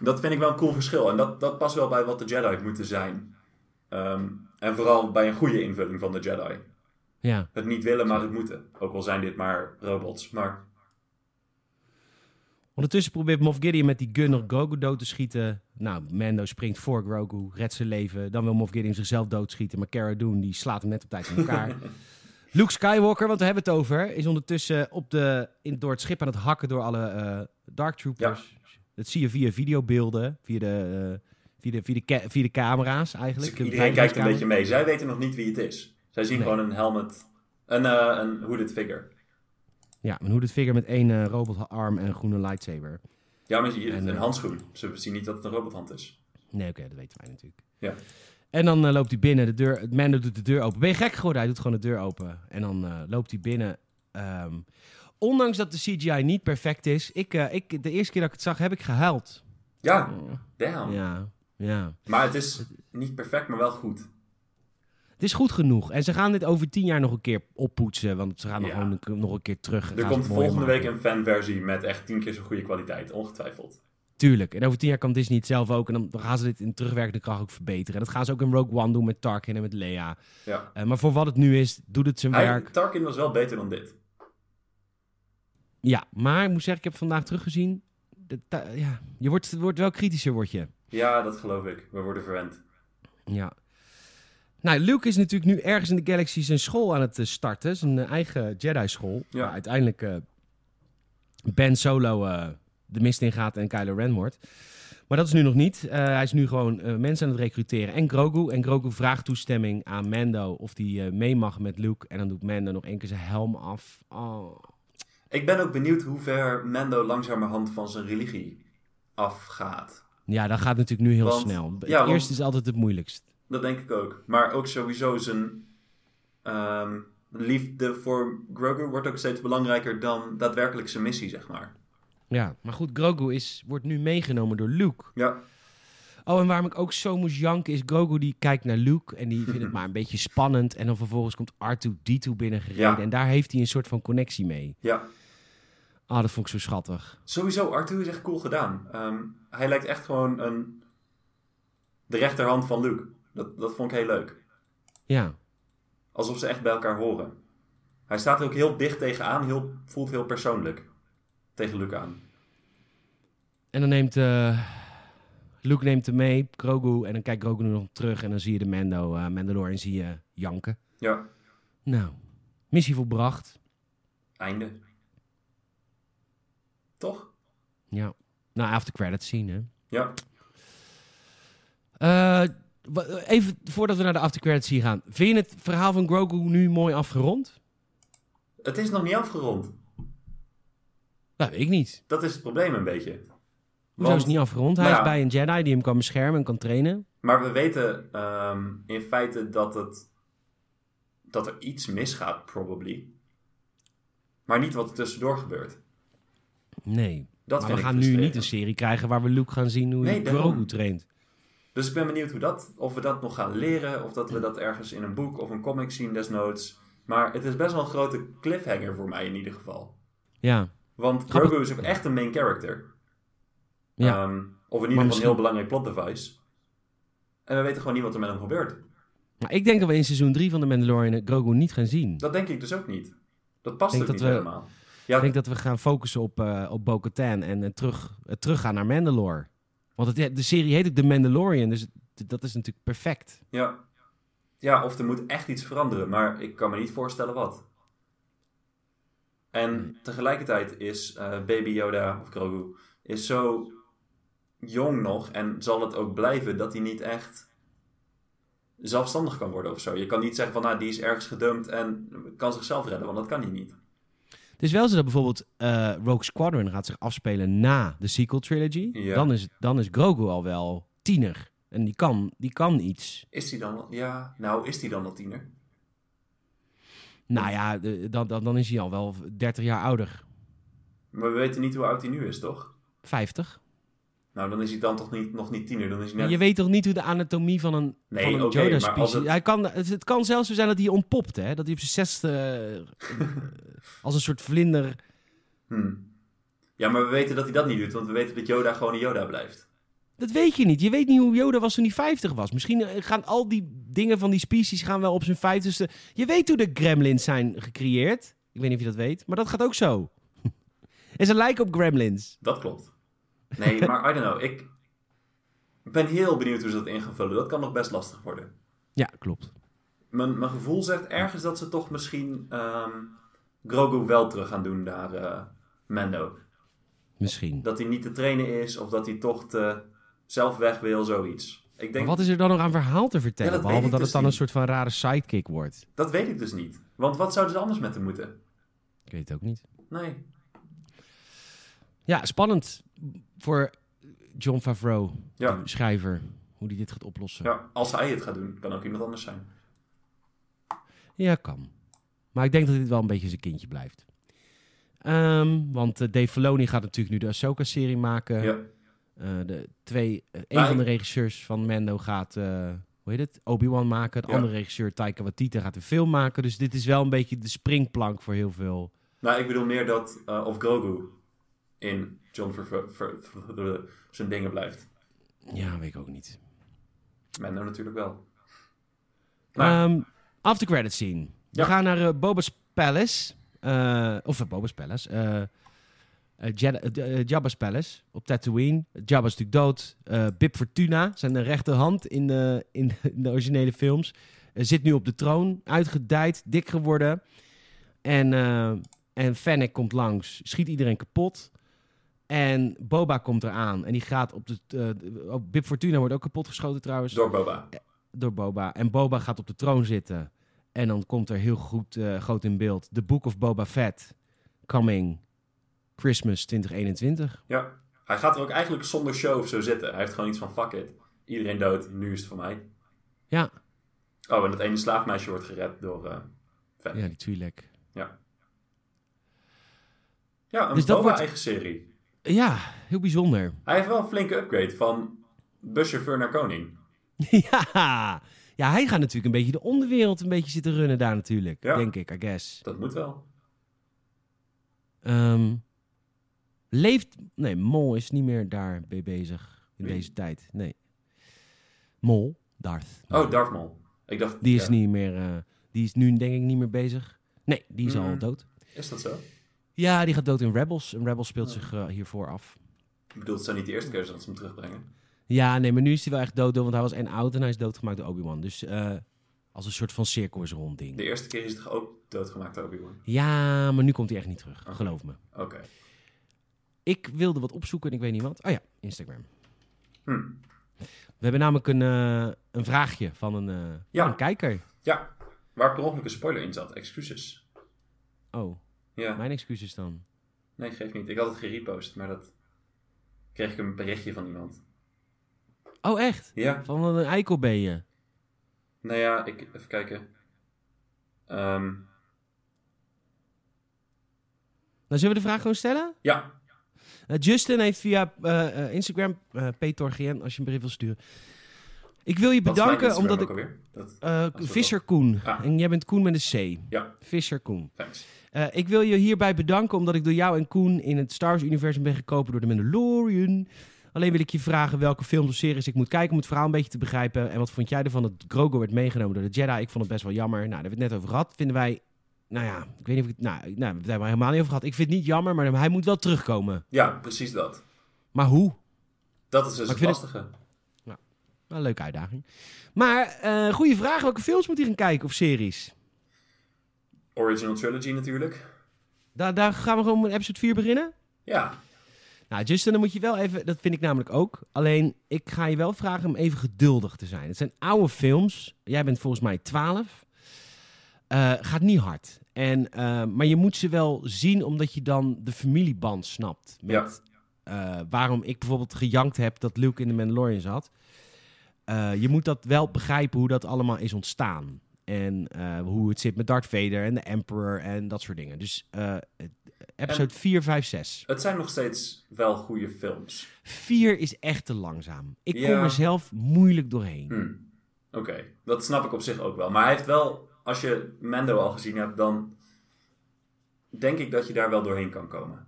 dat vind ik wel een cool verschil. En dat, dat past wel bij wat de Jedi moeten zijn. Ehm, en vooral bij een goede invulling van de Jedi. Ja, Het niet willen, maar het moeten. Ook al zijn dit maar robots. Maar ondertussen probeert Moff Gideon met die gunner Grogu dood te schieten. Nou, Mando springt voor Grogu, redt zijn leven. Dan wil Moff Gideon zichzelf doodschieten, maar Cara Dune die slaat hem net op tijd in elkaar. Luke Skywalker, want we hebben het over, is ondertussen op de, in, door het schip aan het hakken door alle eh, Dark Troopers. Dat zie je via videobeelden, via de, eh, via de, via de, ca- via de camera's dus eigenlijk. De iedereen kijkt een beveiligingscamera's. beetje mee. Zij weten nog niet wie het is. Zij zien Nee. gewoon een helmet. Een, eh een hooded figure. Ja, een hooded figure met één eh, robotarm en een groene lightsaber. Ja, maar je- En, een eh, handschoen. Ze zien niet dat het een robothand is. Nee, oké, dat weten wij natuurlijk. Ja. En dan eh, loopt hij binnen, de deur, Mando doet de deur open. Ben je gek geworden? Hij doet gewoon de deur open. En dan eh, loopt hij binnen. Ehm, ondanks dat de CGI niet perfect is, ik, eh, ik, de eerste keer dat ik het zag, heb ik gehuild. Ja, damn. Ja, ja. Maar het is niet perfect, maar wel goed. Het is goed genoeg. En ze gaan dit over tien jaar nog een keer oppoetsen. Want ze gaan nog Ja. gewoon een- nog een keer terug. en Er gaan ze komt het mooier volgende maken. week een fanversie met echt tien keer zo'n goede kwaliteit. Ongetwijfeld. Tuurlijk. En over tien jaar kan Disney het zelf ook. En dan, dan gaan ze dit in terugwerkende kracht ook verbeteren. En dat gaan ze ook in Rogue One doen met Tarkin en met Leia. Ja. Eh, maar voor wat het nu is, doet het zijn Hij, werk. Tarkin was wel beter dan dit. Ja, maar ik moet zeggen, ik heb vandaag teruggezien. De ta- ja, je wordt, wordt wel kritischer, word je. Ja, dat geloof ik. We worden verwend. Ja. Nou, Luke is natuurlijk nu ergens in de galaxy zijn school aan het eh, starten. Zijn eh, eigen Jedi-school. Ja. Waar uiteindelijk eh, Ben Solo eh, de mist ingaat en Kylo Ren wordt. Maar dat is nu nog niet. Eh, hij is nu gewoon eh, mensen aan het recruteren. En Grogu. En Grogu vraagt toestemming aan Mando of hij eh, mee mag met Luke. En dan doet Mando nog één keer zijn helm af. Oh. Ik ben ook benieuwd hoe ver Mando langzamerhand van zijn religie afgaat. Ja, dat gaat natuurlijk nu heel Want- snel. ja, het want- eerste is altijd het moeilijkst. Dat denk ik ook. Maar ook sowieso zijn ehm, liefde voor Grogu wordt ook steeds belangrijker dan daadwerkelijk zijn missie, zeg maar. Ja, maar goed, Grogu is, wordt nu meegenomen door Luke. Ja. Oh, en waarom ik ook zo moest janken is Grogu die kijkt naar Luke en die vindt het maar een beetje spannend. En dan vervolgens komt R2-D2 binnengereden Ja. en daar heeft hij een soort van connectie mee. Ja. Ah, dat vond ik zo schattig. Sowieso, Arthur is echt cool gedaan. Ehm, hij lijkt echt gewoon een... de rechterhand van Luke. Dat, dat vond ik heel leuk. Ja, Alsof ze echt bij elkaar horen. Hij staat er ook heel dicht tegenaan, heel, voelt heel persoonlijk tegen Luke aan. en dan neemt eh, Luke neemt hem mee, Grogu, en dan kijkt Grogu nog terug en dan zie je de Mando, eh Mandalorian zie je janken. Ja, Nou, missie volbracht. einde. Toch? Ja, nou, after credits zien hè. Ja. Eh, wa- even voordat we naar de aftercredits hier gaan. Vind je het verhaal van Grogu nu mooi afgerond? Het is nog niet afgerond. Dat weet ik niet. Dat is het probleem een beetje. Hoezo is Want- het niet afgerond? Hij Nou is ja. bij een Jedi die hem kan beschermen en kan trainen. Maar we weten ehm, in feite dat, het, dat er iets misgaat, probably. Maar niet wat er tussendoor gebeurt. Nee. Dat maar vind we ik gaan nu niet frustrerend. een serie krijgen waar we Luke gaan zien hoe Nee, hij daarom. Grogu traint. Dus ik ben benieuwd hoe dat, of we dat nog gaan leren, of dat we dat ergens in een boek of een comic zien desnoods. Maar het is best wel een grote cliffhanger voor mij in ieder geval. Ja. Want Grappig. Grogu is ook echt een main character. Ja. Ehm, of in ieder geval een misschien- heel belangrijk plot device. En we weten gewoon niet wat er met hem gebeurt. Maar ik denk dat we in seizoen 3 van de Mandalorian Grogu niet gaan zien. Dat denk ik dus ook niet. Dat past Ik ook denk niet dat we- helemaal. Ja, Ik denk dat we gaan focussen op, eh op Bo-Katan en eh, terug, eh, teruggaan naar Mandalore. Want het, de serie heet ook The Mandalorian, dus het- dat is natuurlijk perfect. ja. ja, of er moet echt iets veranderen, maar ik kan me niet voorstellen wat. En tegelijkertijd is eh, Baby Yoda, of Grogu, is zo jong nog en zal het ook blijven dat hij niet echt zelfstandig kan worden of zo. Je kan niet zeggen van, nou, die is ergens gedumpt en kan zichzelf redden, want dat kan hij niet. Het is wel zo dat bijvoorbeeld eh, Rogue Squadron gaat zich afspelen na de sequel trilogy. Ja. Dan, is, dan is Grogu al wel tiener. En die kan, die kan iets. Is hij dan al... Ja, nou, is hij dan al tiener? Nou ja, de- dan, dan, dan is hij al wel 30 jaar ouder. Maar we weten niet hoe oud hij nu is, toch? 50. Nou, dan is hij dan toch niet, nog niet tiener, dan is hij Maar net... Je weet toch niet hoe de anatomie van een, Nee, van een oké, maar als Yoda-species... het- Hij kan, het, het kan zelfs zo zijn dat hij ontpopt, hè? Dat hij op zijn zesde... eh, als een soort vlinder... Hmm. Ja, maar we weten dat hij dat niet doet, want we weten dat Yoda gewoon een Yoda blijft. Dat weet je niet. Je weet niet hoe Yoda was toen hij 50 was. Misschien eh, gaan al die dingen van die species gaan wel op zijn 50ste. Je weet hoe de gremlins zijn gecreëerd. Ik weet niet of je dat weet, maar dat gaat ook zo. en ze lijken op gremlins. Dat klopt. Nee, maar I don't know. Ik ben heel benieuwd hoe ze dat in gaan vullen. Dat kan nog best lastig worden. Ja, klopt. Mijn, mijn gevoel zegt ergens dat ze toch misschien ehm, Grogu wel terug gaan doen naar eh, Mando. Misschien. Dat hij niet te trainen is of dat hij toch te zelf weg wil, zoiets. Ik Maar denk, wat is er dan nog aan verhaal te vertellen? Ja, dat behalve weet ik dat het dus dan niet. een soort van rare sidekick wordt. dat weet ik dus niet. Want wat zouden ze anders met hem moeten? Ik weet het ook niet. Nee. Ja, spannend voor John Favreau, Ja. de schrijver, hoe die dit gaat oplossen. ja, als hij het gaat doen, kan ook iemand anders zijn. Ja, kan. Maar ik denk dat dit wel een beetje zijn kindje blijft. Ehm, want eh, Dave Filoni gaat natuurlijk nu de Ahsoka-serie maken. Ja. Eh, de twee, eh, een Maar van de ik- regisseurs van Mando gaat, eh, hoe heet het, Obi-Wan maken. De Ja. andere regisseur, Taika Waititi, gaat een film maken. Dus dit is wel een beetje de springplank voor heel veel. Nou, ik bedoel meer dat eh, of Grogu in John Favreau- Favreau- Favreau zijn dingen blijft. Ja, weet ik ook niet. Mendo natuurlijk wel. Maar- Ehm after credit scene. We Ja. gaan naar eh, Boba's Palace. Eh, of eh, Boba's Palace. eh, eh, Jedi- eh, eh, Jabba's Palace op Tatooine. Jabba is natuurlijk dood. Eh, Bib Fortuna, zijn rechterhand in de, in de, in de originele films, eh, zit nu op de troon. Uitgedijd, dik geworden. En, eh, en Fennec komt langs, schiet iedereen kapot. En Boba komt eraan en die gaat op de... eh, ook Bib Fortuna wordt ook kapot geschoten trouwens Door Boba. door Boba. En Boba gaat op de troon zitten. En dan komt er heel goed, eh, groot in beeld. The Book of Boba Fett. Coming Christmas 2021. Ja. Hij gaat er ook eigenlijk zonder show of zo zitten. Hij heeft gewoon iets van fuck it. Iedereen dood, nu is het voor mij. Ja. Oh, en dat ene slaafmeisje wordt gered door eh Fennec. Ja, Ja. die Twi'lek. een Dus dat Boba wordt- eigen serie. Ja, heel bijzonder. Hij heeft wel een flinke upgrade van buschauffeur naar koning. ja. ja, hij gaat natuurlijk een beetje de onderwereld een beetje zitten runnen daar natuurlijk. Ja. Denk ik, I guess. Dat moet wel. Ehm, leeft... Nee, Mol is niet meer daar mee bezig in Wie? deze tijd. Nee. Mol, Darth. Oh, Darth Maul. Ik dacht, Die is ja. niet meer. eh, die is nu denk ik niet meer bezig. Nee, die is al Mhm. dood. Is dat zo? Ja, die gaat dood in Rebels. En Rebels Oh. speelt zich eh, hiervoor af. Ik bedoel, het zou niet de eerste keer zijn dat ze hem terugbrengen. Ja, nee, maar nu is hij wel echt dood, dood, want hij was en oud en hij is doodgemaakt door Obi-Wan. Dus eh, als een soort van cirkel is rond ding. De eerste keer is hij toch ook doodgemaakt door Obi-Wan? Ja, maar nu komt hij echt niet terug, geloof me. Oké. Ik wilde wat opzoeken en ik weet niet wat. Oh ja, Instagram. Hm. We hebben namelijk een, eh, een vraagje van een, eh, Ja. van een kijker. Ja, waar per ongeluk een spoiler in zat. Excuses. Oh, Ja, mijn excuses dan. Nee, geeft niet. Ik had het gerepost, maar dat kreeg ik een berichtje van iemand. Oh, echt? Ja, Van wat een eikel ben je. nou ja, ik, even kijken. Ehm, Nou, zullen we de vraag gewoon stellen? ja, Nou, Justin heeft via eh, eh, Instagram, eh PTORGN, als je een brief wil sturen. Ik wil je wat is mijn bedanken Instagram omdat ook ik... alweer? Dat, eh is wel Visser Koen. Ah. En jij bent Koen met een C. ja, Visser Koen. thanks. Eh, ik wil je hierbij bedanken omdat ik door jou en Koen in het Star Wars-universum ben gekopen door de Mandalorian. Alleen wil ik je vragen welke films of series ik moet kijken om het verhaal een beetje te begrijpen. En wat vond jij ervan dat Grogu werd meegenomen door de Jedi? Ik vond het best wel jammer. Nou, daar hebben we het net over gehad. Vinden wij, nou ja, ik weet niet of ik... Nou, nou we hebben het helemaal niet over gehad. Ik vind het niet jammer, maar hij moet wel terugkomen. Ja, precies dat. Maar hoe? Dat is dus Maar ik het vind lastige. Wel een leuke uitdaging. Maar, eh goede vraag. Welke films moet hij gaan kijken of series? Original Trilogy natuurlijk. Da daar gaan we gewoon met episode 4 beginnen. Ja, Nou, Justin, dan moet je wel even... Dat vind ik namelijk ook. Alleen, ik ga je wel vragen om even geduldig te zijn. Het zijn oude films. Jij bent volgens mij 12. Eh, gaat niet hard. En, eh, maar je moet ze wel zien, omdat je dan de familieband snapt. Met eh, waarom ik bijvoorbeeld gejankt heb dat Luke in de Mandalorian zat. Eh, je moet dat wel begrijpen hoe dat allemaal is ontstaan. En eh, hoe het zit met Darth Vader en de Emperor en dat soort dingen. Dus eh, episode 4, 5, 6. het zijn nog steeds wel goede films. Vier is echt te langzaam. Ik Ja. kom er zelf moeilijk doorheen. Hm. Oké, dat snap ik op zich ook wel. Maar hij heeft wel, als je Mando al gezien hebt, dan denk ik dat je daar wel doorheen kan komen.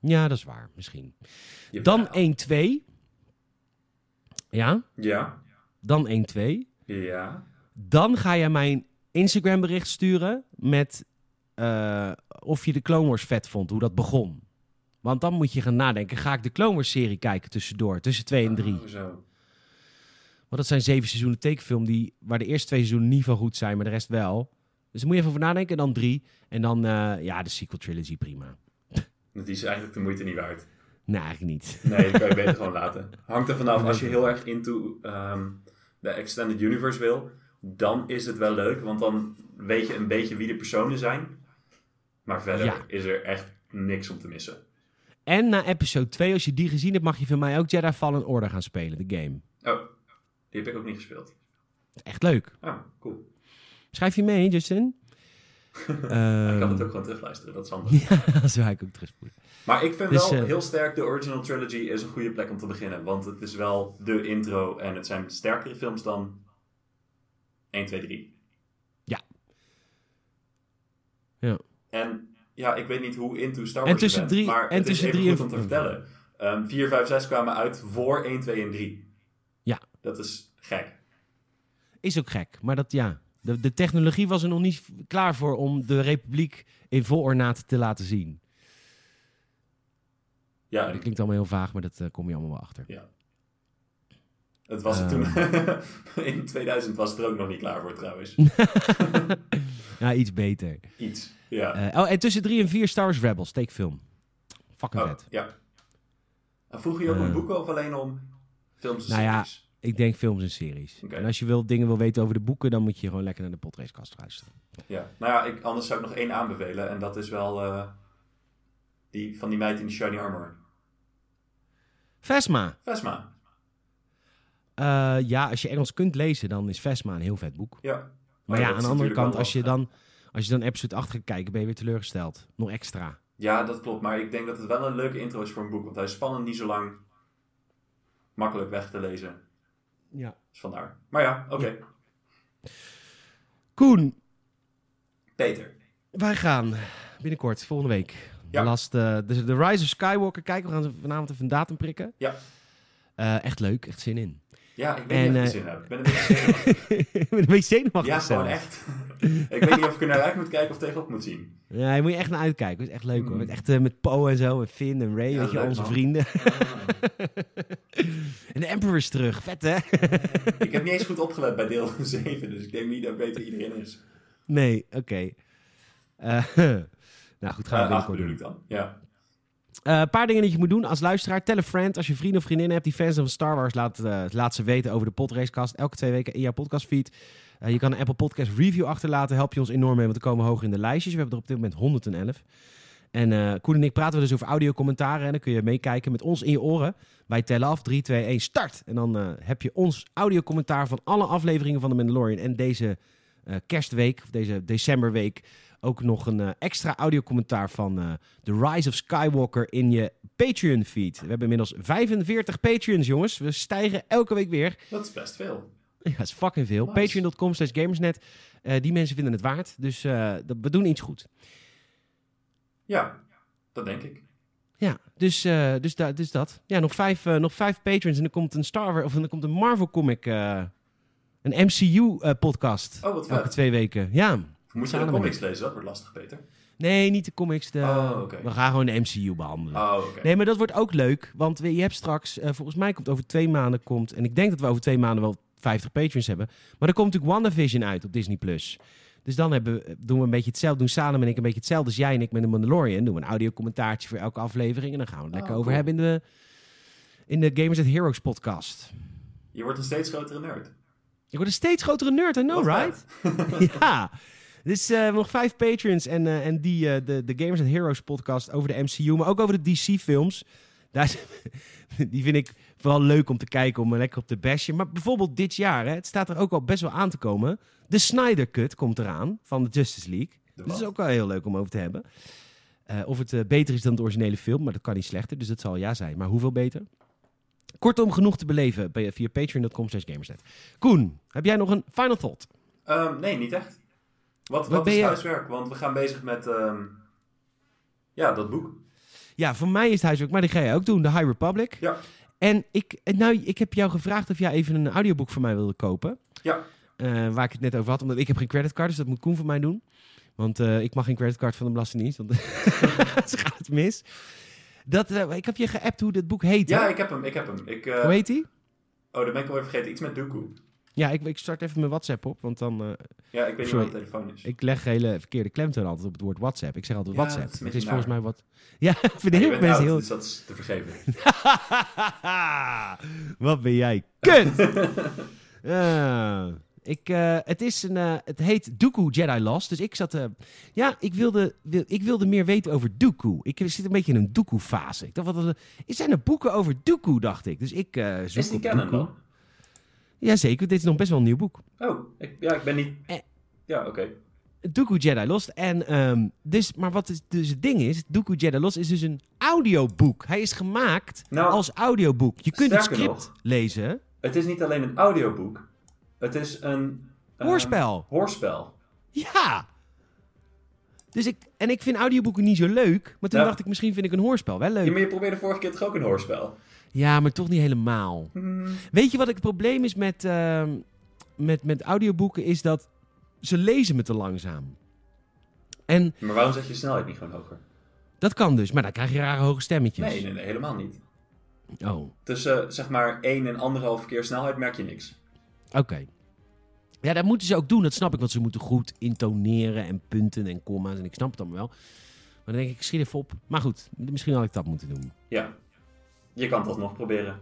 Ja, dat is waar, misschien. Je Dan verhaal. 1-2. Ja, Ja, dan 1-2. ja. Dan ga jij mijn Instagram bericht sturen met eh, of je de Clone Wars vet vond, hoe dat begon. Want dan moet je gaan nadenken, ga ik de Clone Wars serie kijken tussendoor, tussen 2 en 3. Oh, zo. Want dat zijn zeven seizoenen tekenfilm die, waar de eerste twee seizoenen niet van goed zijn, maar de rest wel. Dus daar moet je even over nadenken. En dan drie. En dan, eh, ja, de sequel trilogy, prima. Die is eigenlijk de moeite niet waard. Nee, eigenlijk niet. Nee, dat kan je beter gewoon laten. Hangt er vanaf, als je heel erg into ehm, de Extended Universe wil, dan is het wel leuk, want dan weet je een beetje wie de personen zijn. Maar verder Ja. is er echt niks om te missen. En na episode 2, als je die gezien hebt, mag je van mij ook Jedi Fallen Order gaan spelen, de game. Oh, die heb ik ook niet gespeeld. Echt leuk. Oh, cool. Schrijf je mee, Justin? Ja, ik kan het Ehm ook gewoon terugluisteren, dat is handig. ja, Eh, zo ga ik ook terugspoelen. Maar ik vind Dus, wel eh, heel sterk, de original trilogy is een goede plek om te beginnen. Want het is wel de intro en het zijn sterkere films dan 1, 2, 3. Ja. Ja. En ja, ik weet niet hoe into Star En Wars je tussen bent, drie- maar en het tussen is even drie goed om en- te vertellen. Ehm 4, 5, 6 kwamen uit voor 1, 2 en 3. Ja. Dat is gek. Is ook gek, maar dat ja. De, de technologie was er nog niet klaar voor om de Republiek in vol ornaat te laten zien. Ja, Dat klinkt allemaal heel vaag, maar dat eh, kom je allemaal wel achter. ja. Het was Ehm. er toen... in 2000 was het er ook nog niet klaar voor trouwens. Ja, iets beter. Iets, ja. Eh, oh, en tussen 3 en 4 Star Wars Rebels, steekfilm. Fucking Oh, vet. ja. En vroeg je ook om Eh. boeken of alleen om films en Nou ja. series? Ik denk films en series. Oké. En als je wil, dingen wil weten over de boeken, dan moet je gewoon lekker naar de potracekast luisteren. Ja. Nou ja, ik, anders zou ik nog één aanbevelen. En dat is wel eh, die van die meid in de shiny armor. Vesma. Vesma. Eh, ja, als je Engels kunt lezen, dan is Vesma een heel vet boek. Ja. Maar, Maar ja, Oh, dat is aan de andere natuurlijk kant, wel als je, lastig. dan, als je dan episode 8 gaat kijken, ben je weer teleurgesteld. Nog extra. Ja, dat klopt. Maar ik denk dat het wel een leuke intro is voor een boek. Want hij is spannend niet zo lang makkelijk weg te lezen. Ja. Dus vandaar. Maar ja, oké. Koen, Peter. wij gaan binnenkort, volgende week, Ja. de, last, eh, de, de Rise of Skywalker kijken. We gaan ze vanavond even een datum prikken. Ja. Eh, echt leuk, echt zin in. Ja, ik weet En, niet of ik eh, zin heb. Ik ben een beetje zenuwachtig. ik ben een beetje zenuwachtig Ja, zelf. gewoon echt. ik weet niet of ik er naar uit moet kijken of tegenop moet zien. Ja, daar moet je echt naar uitkijken. Het is echt leuk hoor. Mm. Met, echt, eh, met Poe en zo, en Finn en Ray, Ja, weet je, leuk, onze man. vrienden. Ah. en de Emperor is terug, vet hè? Ik heb niet eens goed opgelet bij deel 7, dus ik denk niet dat ik weet wie iedereen is. Nee, oké. Eh, nou goed, gaan we Eh, acht binnenkort bedoel doen. ik dan. Ja. Eh, Een paar dingen dat je moet doen als luisteraar. Tell a friend. Als je vrienden of vriendinnen hebt die fans zijn van Star Wars, laat, eh, laat ze weten over de podracecast. Elke twee weken in jouw podcastfeed. Eh, je kan een Apple Podcast review achterlaten. Help je ons enorm mee, want we komen hoger in de lijstjes. We hebben er op dit moment 111. En eh Koen en ik praten we dus over audiocommentaren. En dan kun je meekijken met ons in je oren. Wij tellen af. 3, 2, 1, start! En dan eh, heb je ons audiocommentaar van alle afleveringen van The Mandalorian. En deze eh, kerstweek, of deze decemberweek, ook nog een eh, extra audiocommentaar van eh, The Rise of Skywalker in je Patreon-feed. We hebben inmiddels 45 Patreons, jongens. We stijgen elke week weer. Dat is best veel. Ja, dat is fucking veel. Nice. Patreon.com slash gamersnet. Eh, die mensen vinden het waard. Dus eh, dat- we doen iets goed. Ja, dat denk ik. Ja, dus, eh, dus, da- dus dat. Ja, nog vijf, eh, nog vijf patrons en dan komt een Star Wars... of dan komt een Marvel comic... eh, een MCU-podcast. Oh, wat eh, elke vet. twee weken. Ja. Moet je de Samen comics lezen? Dat wordt lastig, Peter. Nee, niet de comics. De, Oh, oké. We gaan gewoon de MCU behandelen. Oh, oké. Nee, maar dat wordt ook leuk. Want we- je hebt straks, eh, volgens mij komt over twee maanden komt. En ik denk dat we over twee maanden wel 50 patrons hebben. Maar er komt natuurlijk WandaVision uit op Disney Plus. Dus dan hebben, we- doen we een beetje hetzelfde. Doen Salem en ik een beetje hetzelfde als jij en ik met de Mandalorian. Doen we een audiocommentaartje voor elke aflevering. En dan gaan we het lekker Oh, over cool. hebben in de, in de Gamers at Heroes podcast. Je wordt een steeds grotere nerd. Ik word een steeds grotere nerd, I know, Wat right? vet. ja. Dus eh, nog vijf patrons en, eh, en die, eh, de, de Gamers and Heroes podcast over de MCU, maar ook over de DC-films. Daar is- die vind ik vooral leuk om te kijken, om eh, lekker op te bashen. Maar bijvoorbeeld dit jaar, hè, het staat er ook al best wel aan te komen. De Snyder Cut komt eraan van de Justice League. De Dus dat is wat? ook wel heel leuk om over te hebben. Eh, of het eh, beter is dan de originele film, maar dat kan niet slechter. Dus dat zal ja zijn. Maar hoeveel beter? Kortom, genoeg te beleven bij- via patreon.com slash gamersnet. Koen, heb jij nog een final thought? Ehm, nee, niet echt. Wat, Wat wat ben is je- huiswerk? Want we gaan bezig met ehm, ja, dat boek. Ja, voor mij is het huiswerk, maar die ga jij ook doen, de High Republic. Ja. En ik, en nou, ik heb jou gevraagd of jij even een audioboek voor mij wilde kopen. Ja. Eh, waar ik het net over had, omdat ik heb geen creditcard, dus dat moet Koen voor mij doen. Want eh, ik mag geen creditcard van de Belastingdienst, want ze gaat mis. Dat, eh, ik heb je geappt hoe dit boek heet. hè? Ja, ik heb hem, ik heb hem. Ik, eh, Hoe heet die? oh, dat ben ik alweer vergeten. Iets met Dooku. Ja, ik, ik start even mijn WhatsApp op, want dan... eh, Ja, ik weet Sorry. niet wat de telefoon is. ik leg hele verkeerde klemtoon altijd op het woord WhatsApp. Ik zeg altijd Ja, WhatsApp. dat is een het beetje is volgens mij naar. wat... Ja, vinden Ja, je heel veel bent mensen oud, heel... dus dat is te vergeven. Wat ben jij kut! Eh, ik, eh, het, is een, eh, het heet Dooku Jedi Lost. Dus ik zat... eh, ja, ik wilde, wil- ik wilde meer weten over Dooku. Ik zit een beetje in een Dooku-fase. Ik dacht, wat, wat- zijn er boeken over Dooku, dacht ik. Dus ik eh zoek Is die op canon Dooku. dan? Jazeker, dit is nog best wel een nieuw boek. Oh, ik, ja, ik ben niet... Eh. Ja, oké. Dooku Jedi Lost. En, ehm, dus, maar wat is, dus het ding is, Dooku Jedi Lost is dus een audioboek. Hij is gemaakt Nou, als audioboek. Je kunt het sterker script nog. lezen. Het is niet alleen een audioboek. Het is een... ehm, Hoorspel. hoorspel. Ja! Dus ik, en ik vind audioboeken niet zo leuk. Maar toen Ja. dacht ik, misschien vind ik een hoorspel wel Ja, leuk. maar je probeerde vorige keer toch ook een hoorspel? Ja, maar toch niet helemaal. Mm. Weet je wat het probleem is met, ehm, met, met audioboeken? Is dat ze lezen me te langzaam. En Maar waarom zet je snelheid niet gewoon hoger? dat kan dus, maar dan krijg je rare hoge stemmetjes. Nee, nee, nee, helemaal niet. Oh. Tussen eh, zeg maar 1 en 1,5 keer snelheid merk je niks. Oké. Ja, dat moeten ze ook doen, dat snap ik. Want ze moeten goed intoneren en punten en comma's. En ik snap het allemaal wel. Maar dan denk ik, schiet even op. Maar goed, misschien had ik dat moeten doen. Ja. Je kan het alsnog proberen.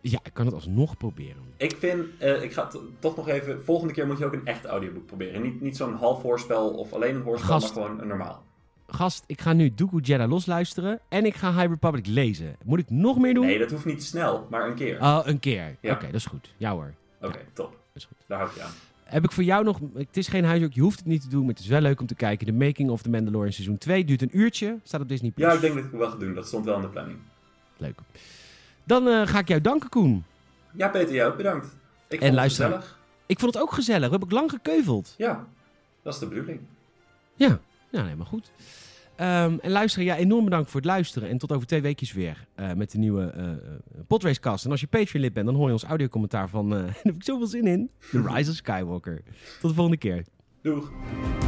Ja, ik kan het alsnog proberen. Ik vind, eh, ik ga het toch nog even. Volgende keer moet je ook een echt audioboek proberen. Niet, niet zo'n half hoorspel of alleen een hoorspel, Gast. maar gewoon een normaal. Gast, ik ga nu Dooku Jedi Los luisteren. En ik ga High Republic lezen. Moet ik nog meer doen? Nee, dat hoeft niet snel, maar een keer. Oh, een keer. Ja. Oké, dat is goed. Ja hoor. Oké, top. is goed. Daar hou ik je aan. Heb ik voor jou nog... Het is geen huiswerk, je hoeft het niet te doen. Maar het is wel leuk om te kijken. De Making of The Mandalorian seizoen 2 duurt een uurtje. Staat op Disney+. Ja, ik denk dat ik het wel ga doen. Dat stond wel in de planning. Leuk. Dan eh, ga ik jou danken, Koen. Ja, Peter, jou ook bedankt. Ik vond het luisteraar. gezellig. Ik vond het ook gezellig. We hebben ook lang gekeuveld. Ja, dat is de bedoeling. Ja, nou helemaal goed. Ehm, en luisteren, ja, enorm bedankt voor het luisteren. En tot over twee weekjes weer eh, met de nieuwe eh eh, Podracecast. En als je Patreon-lid bent, dan hoor je ons audiocommentaar van... eh daar heb ik zoveel zin in. The Rise of Skywalker. Tot de volgende keer. Doeg.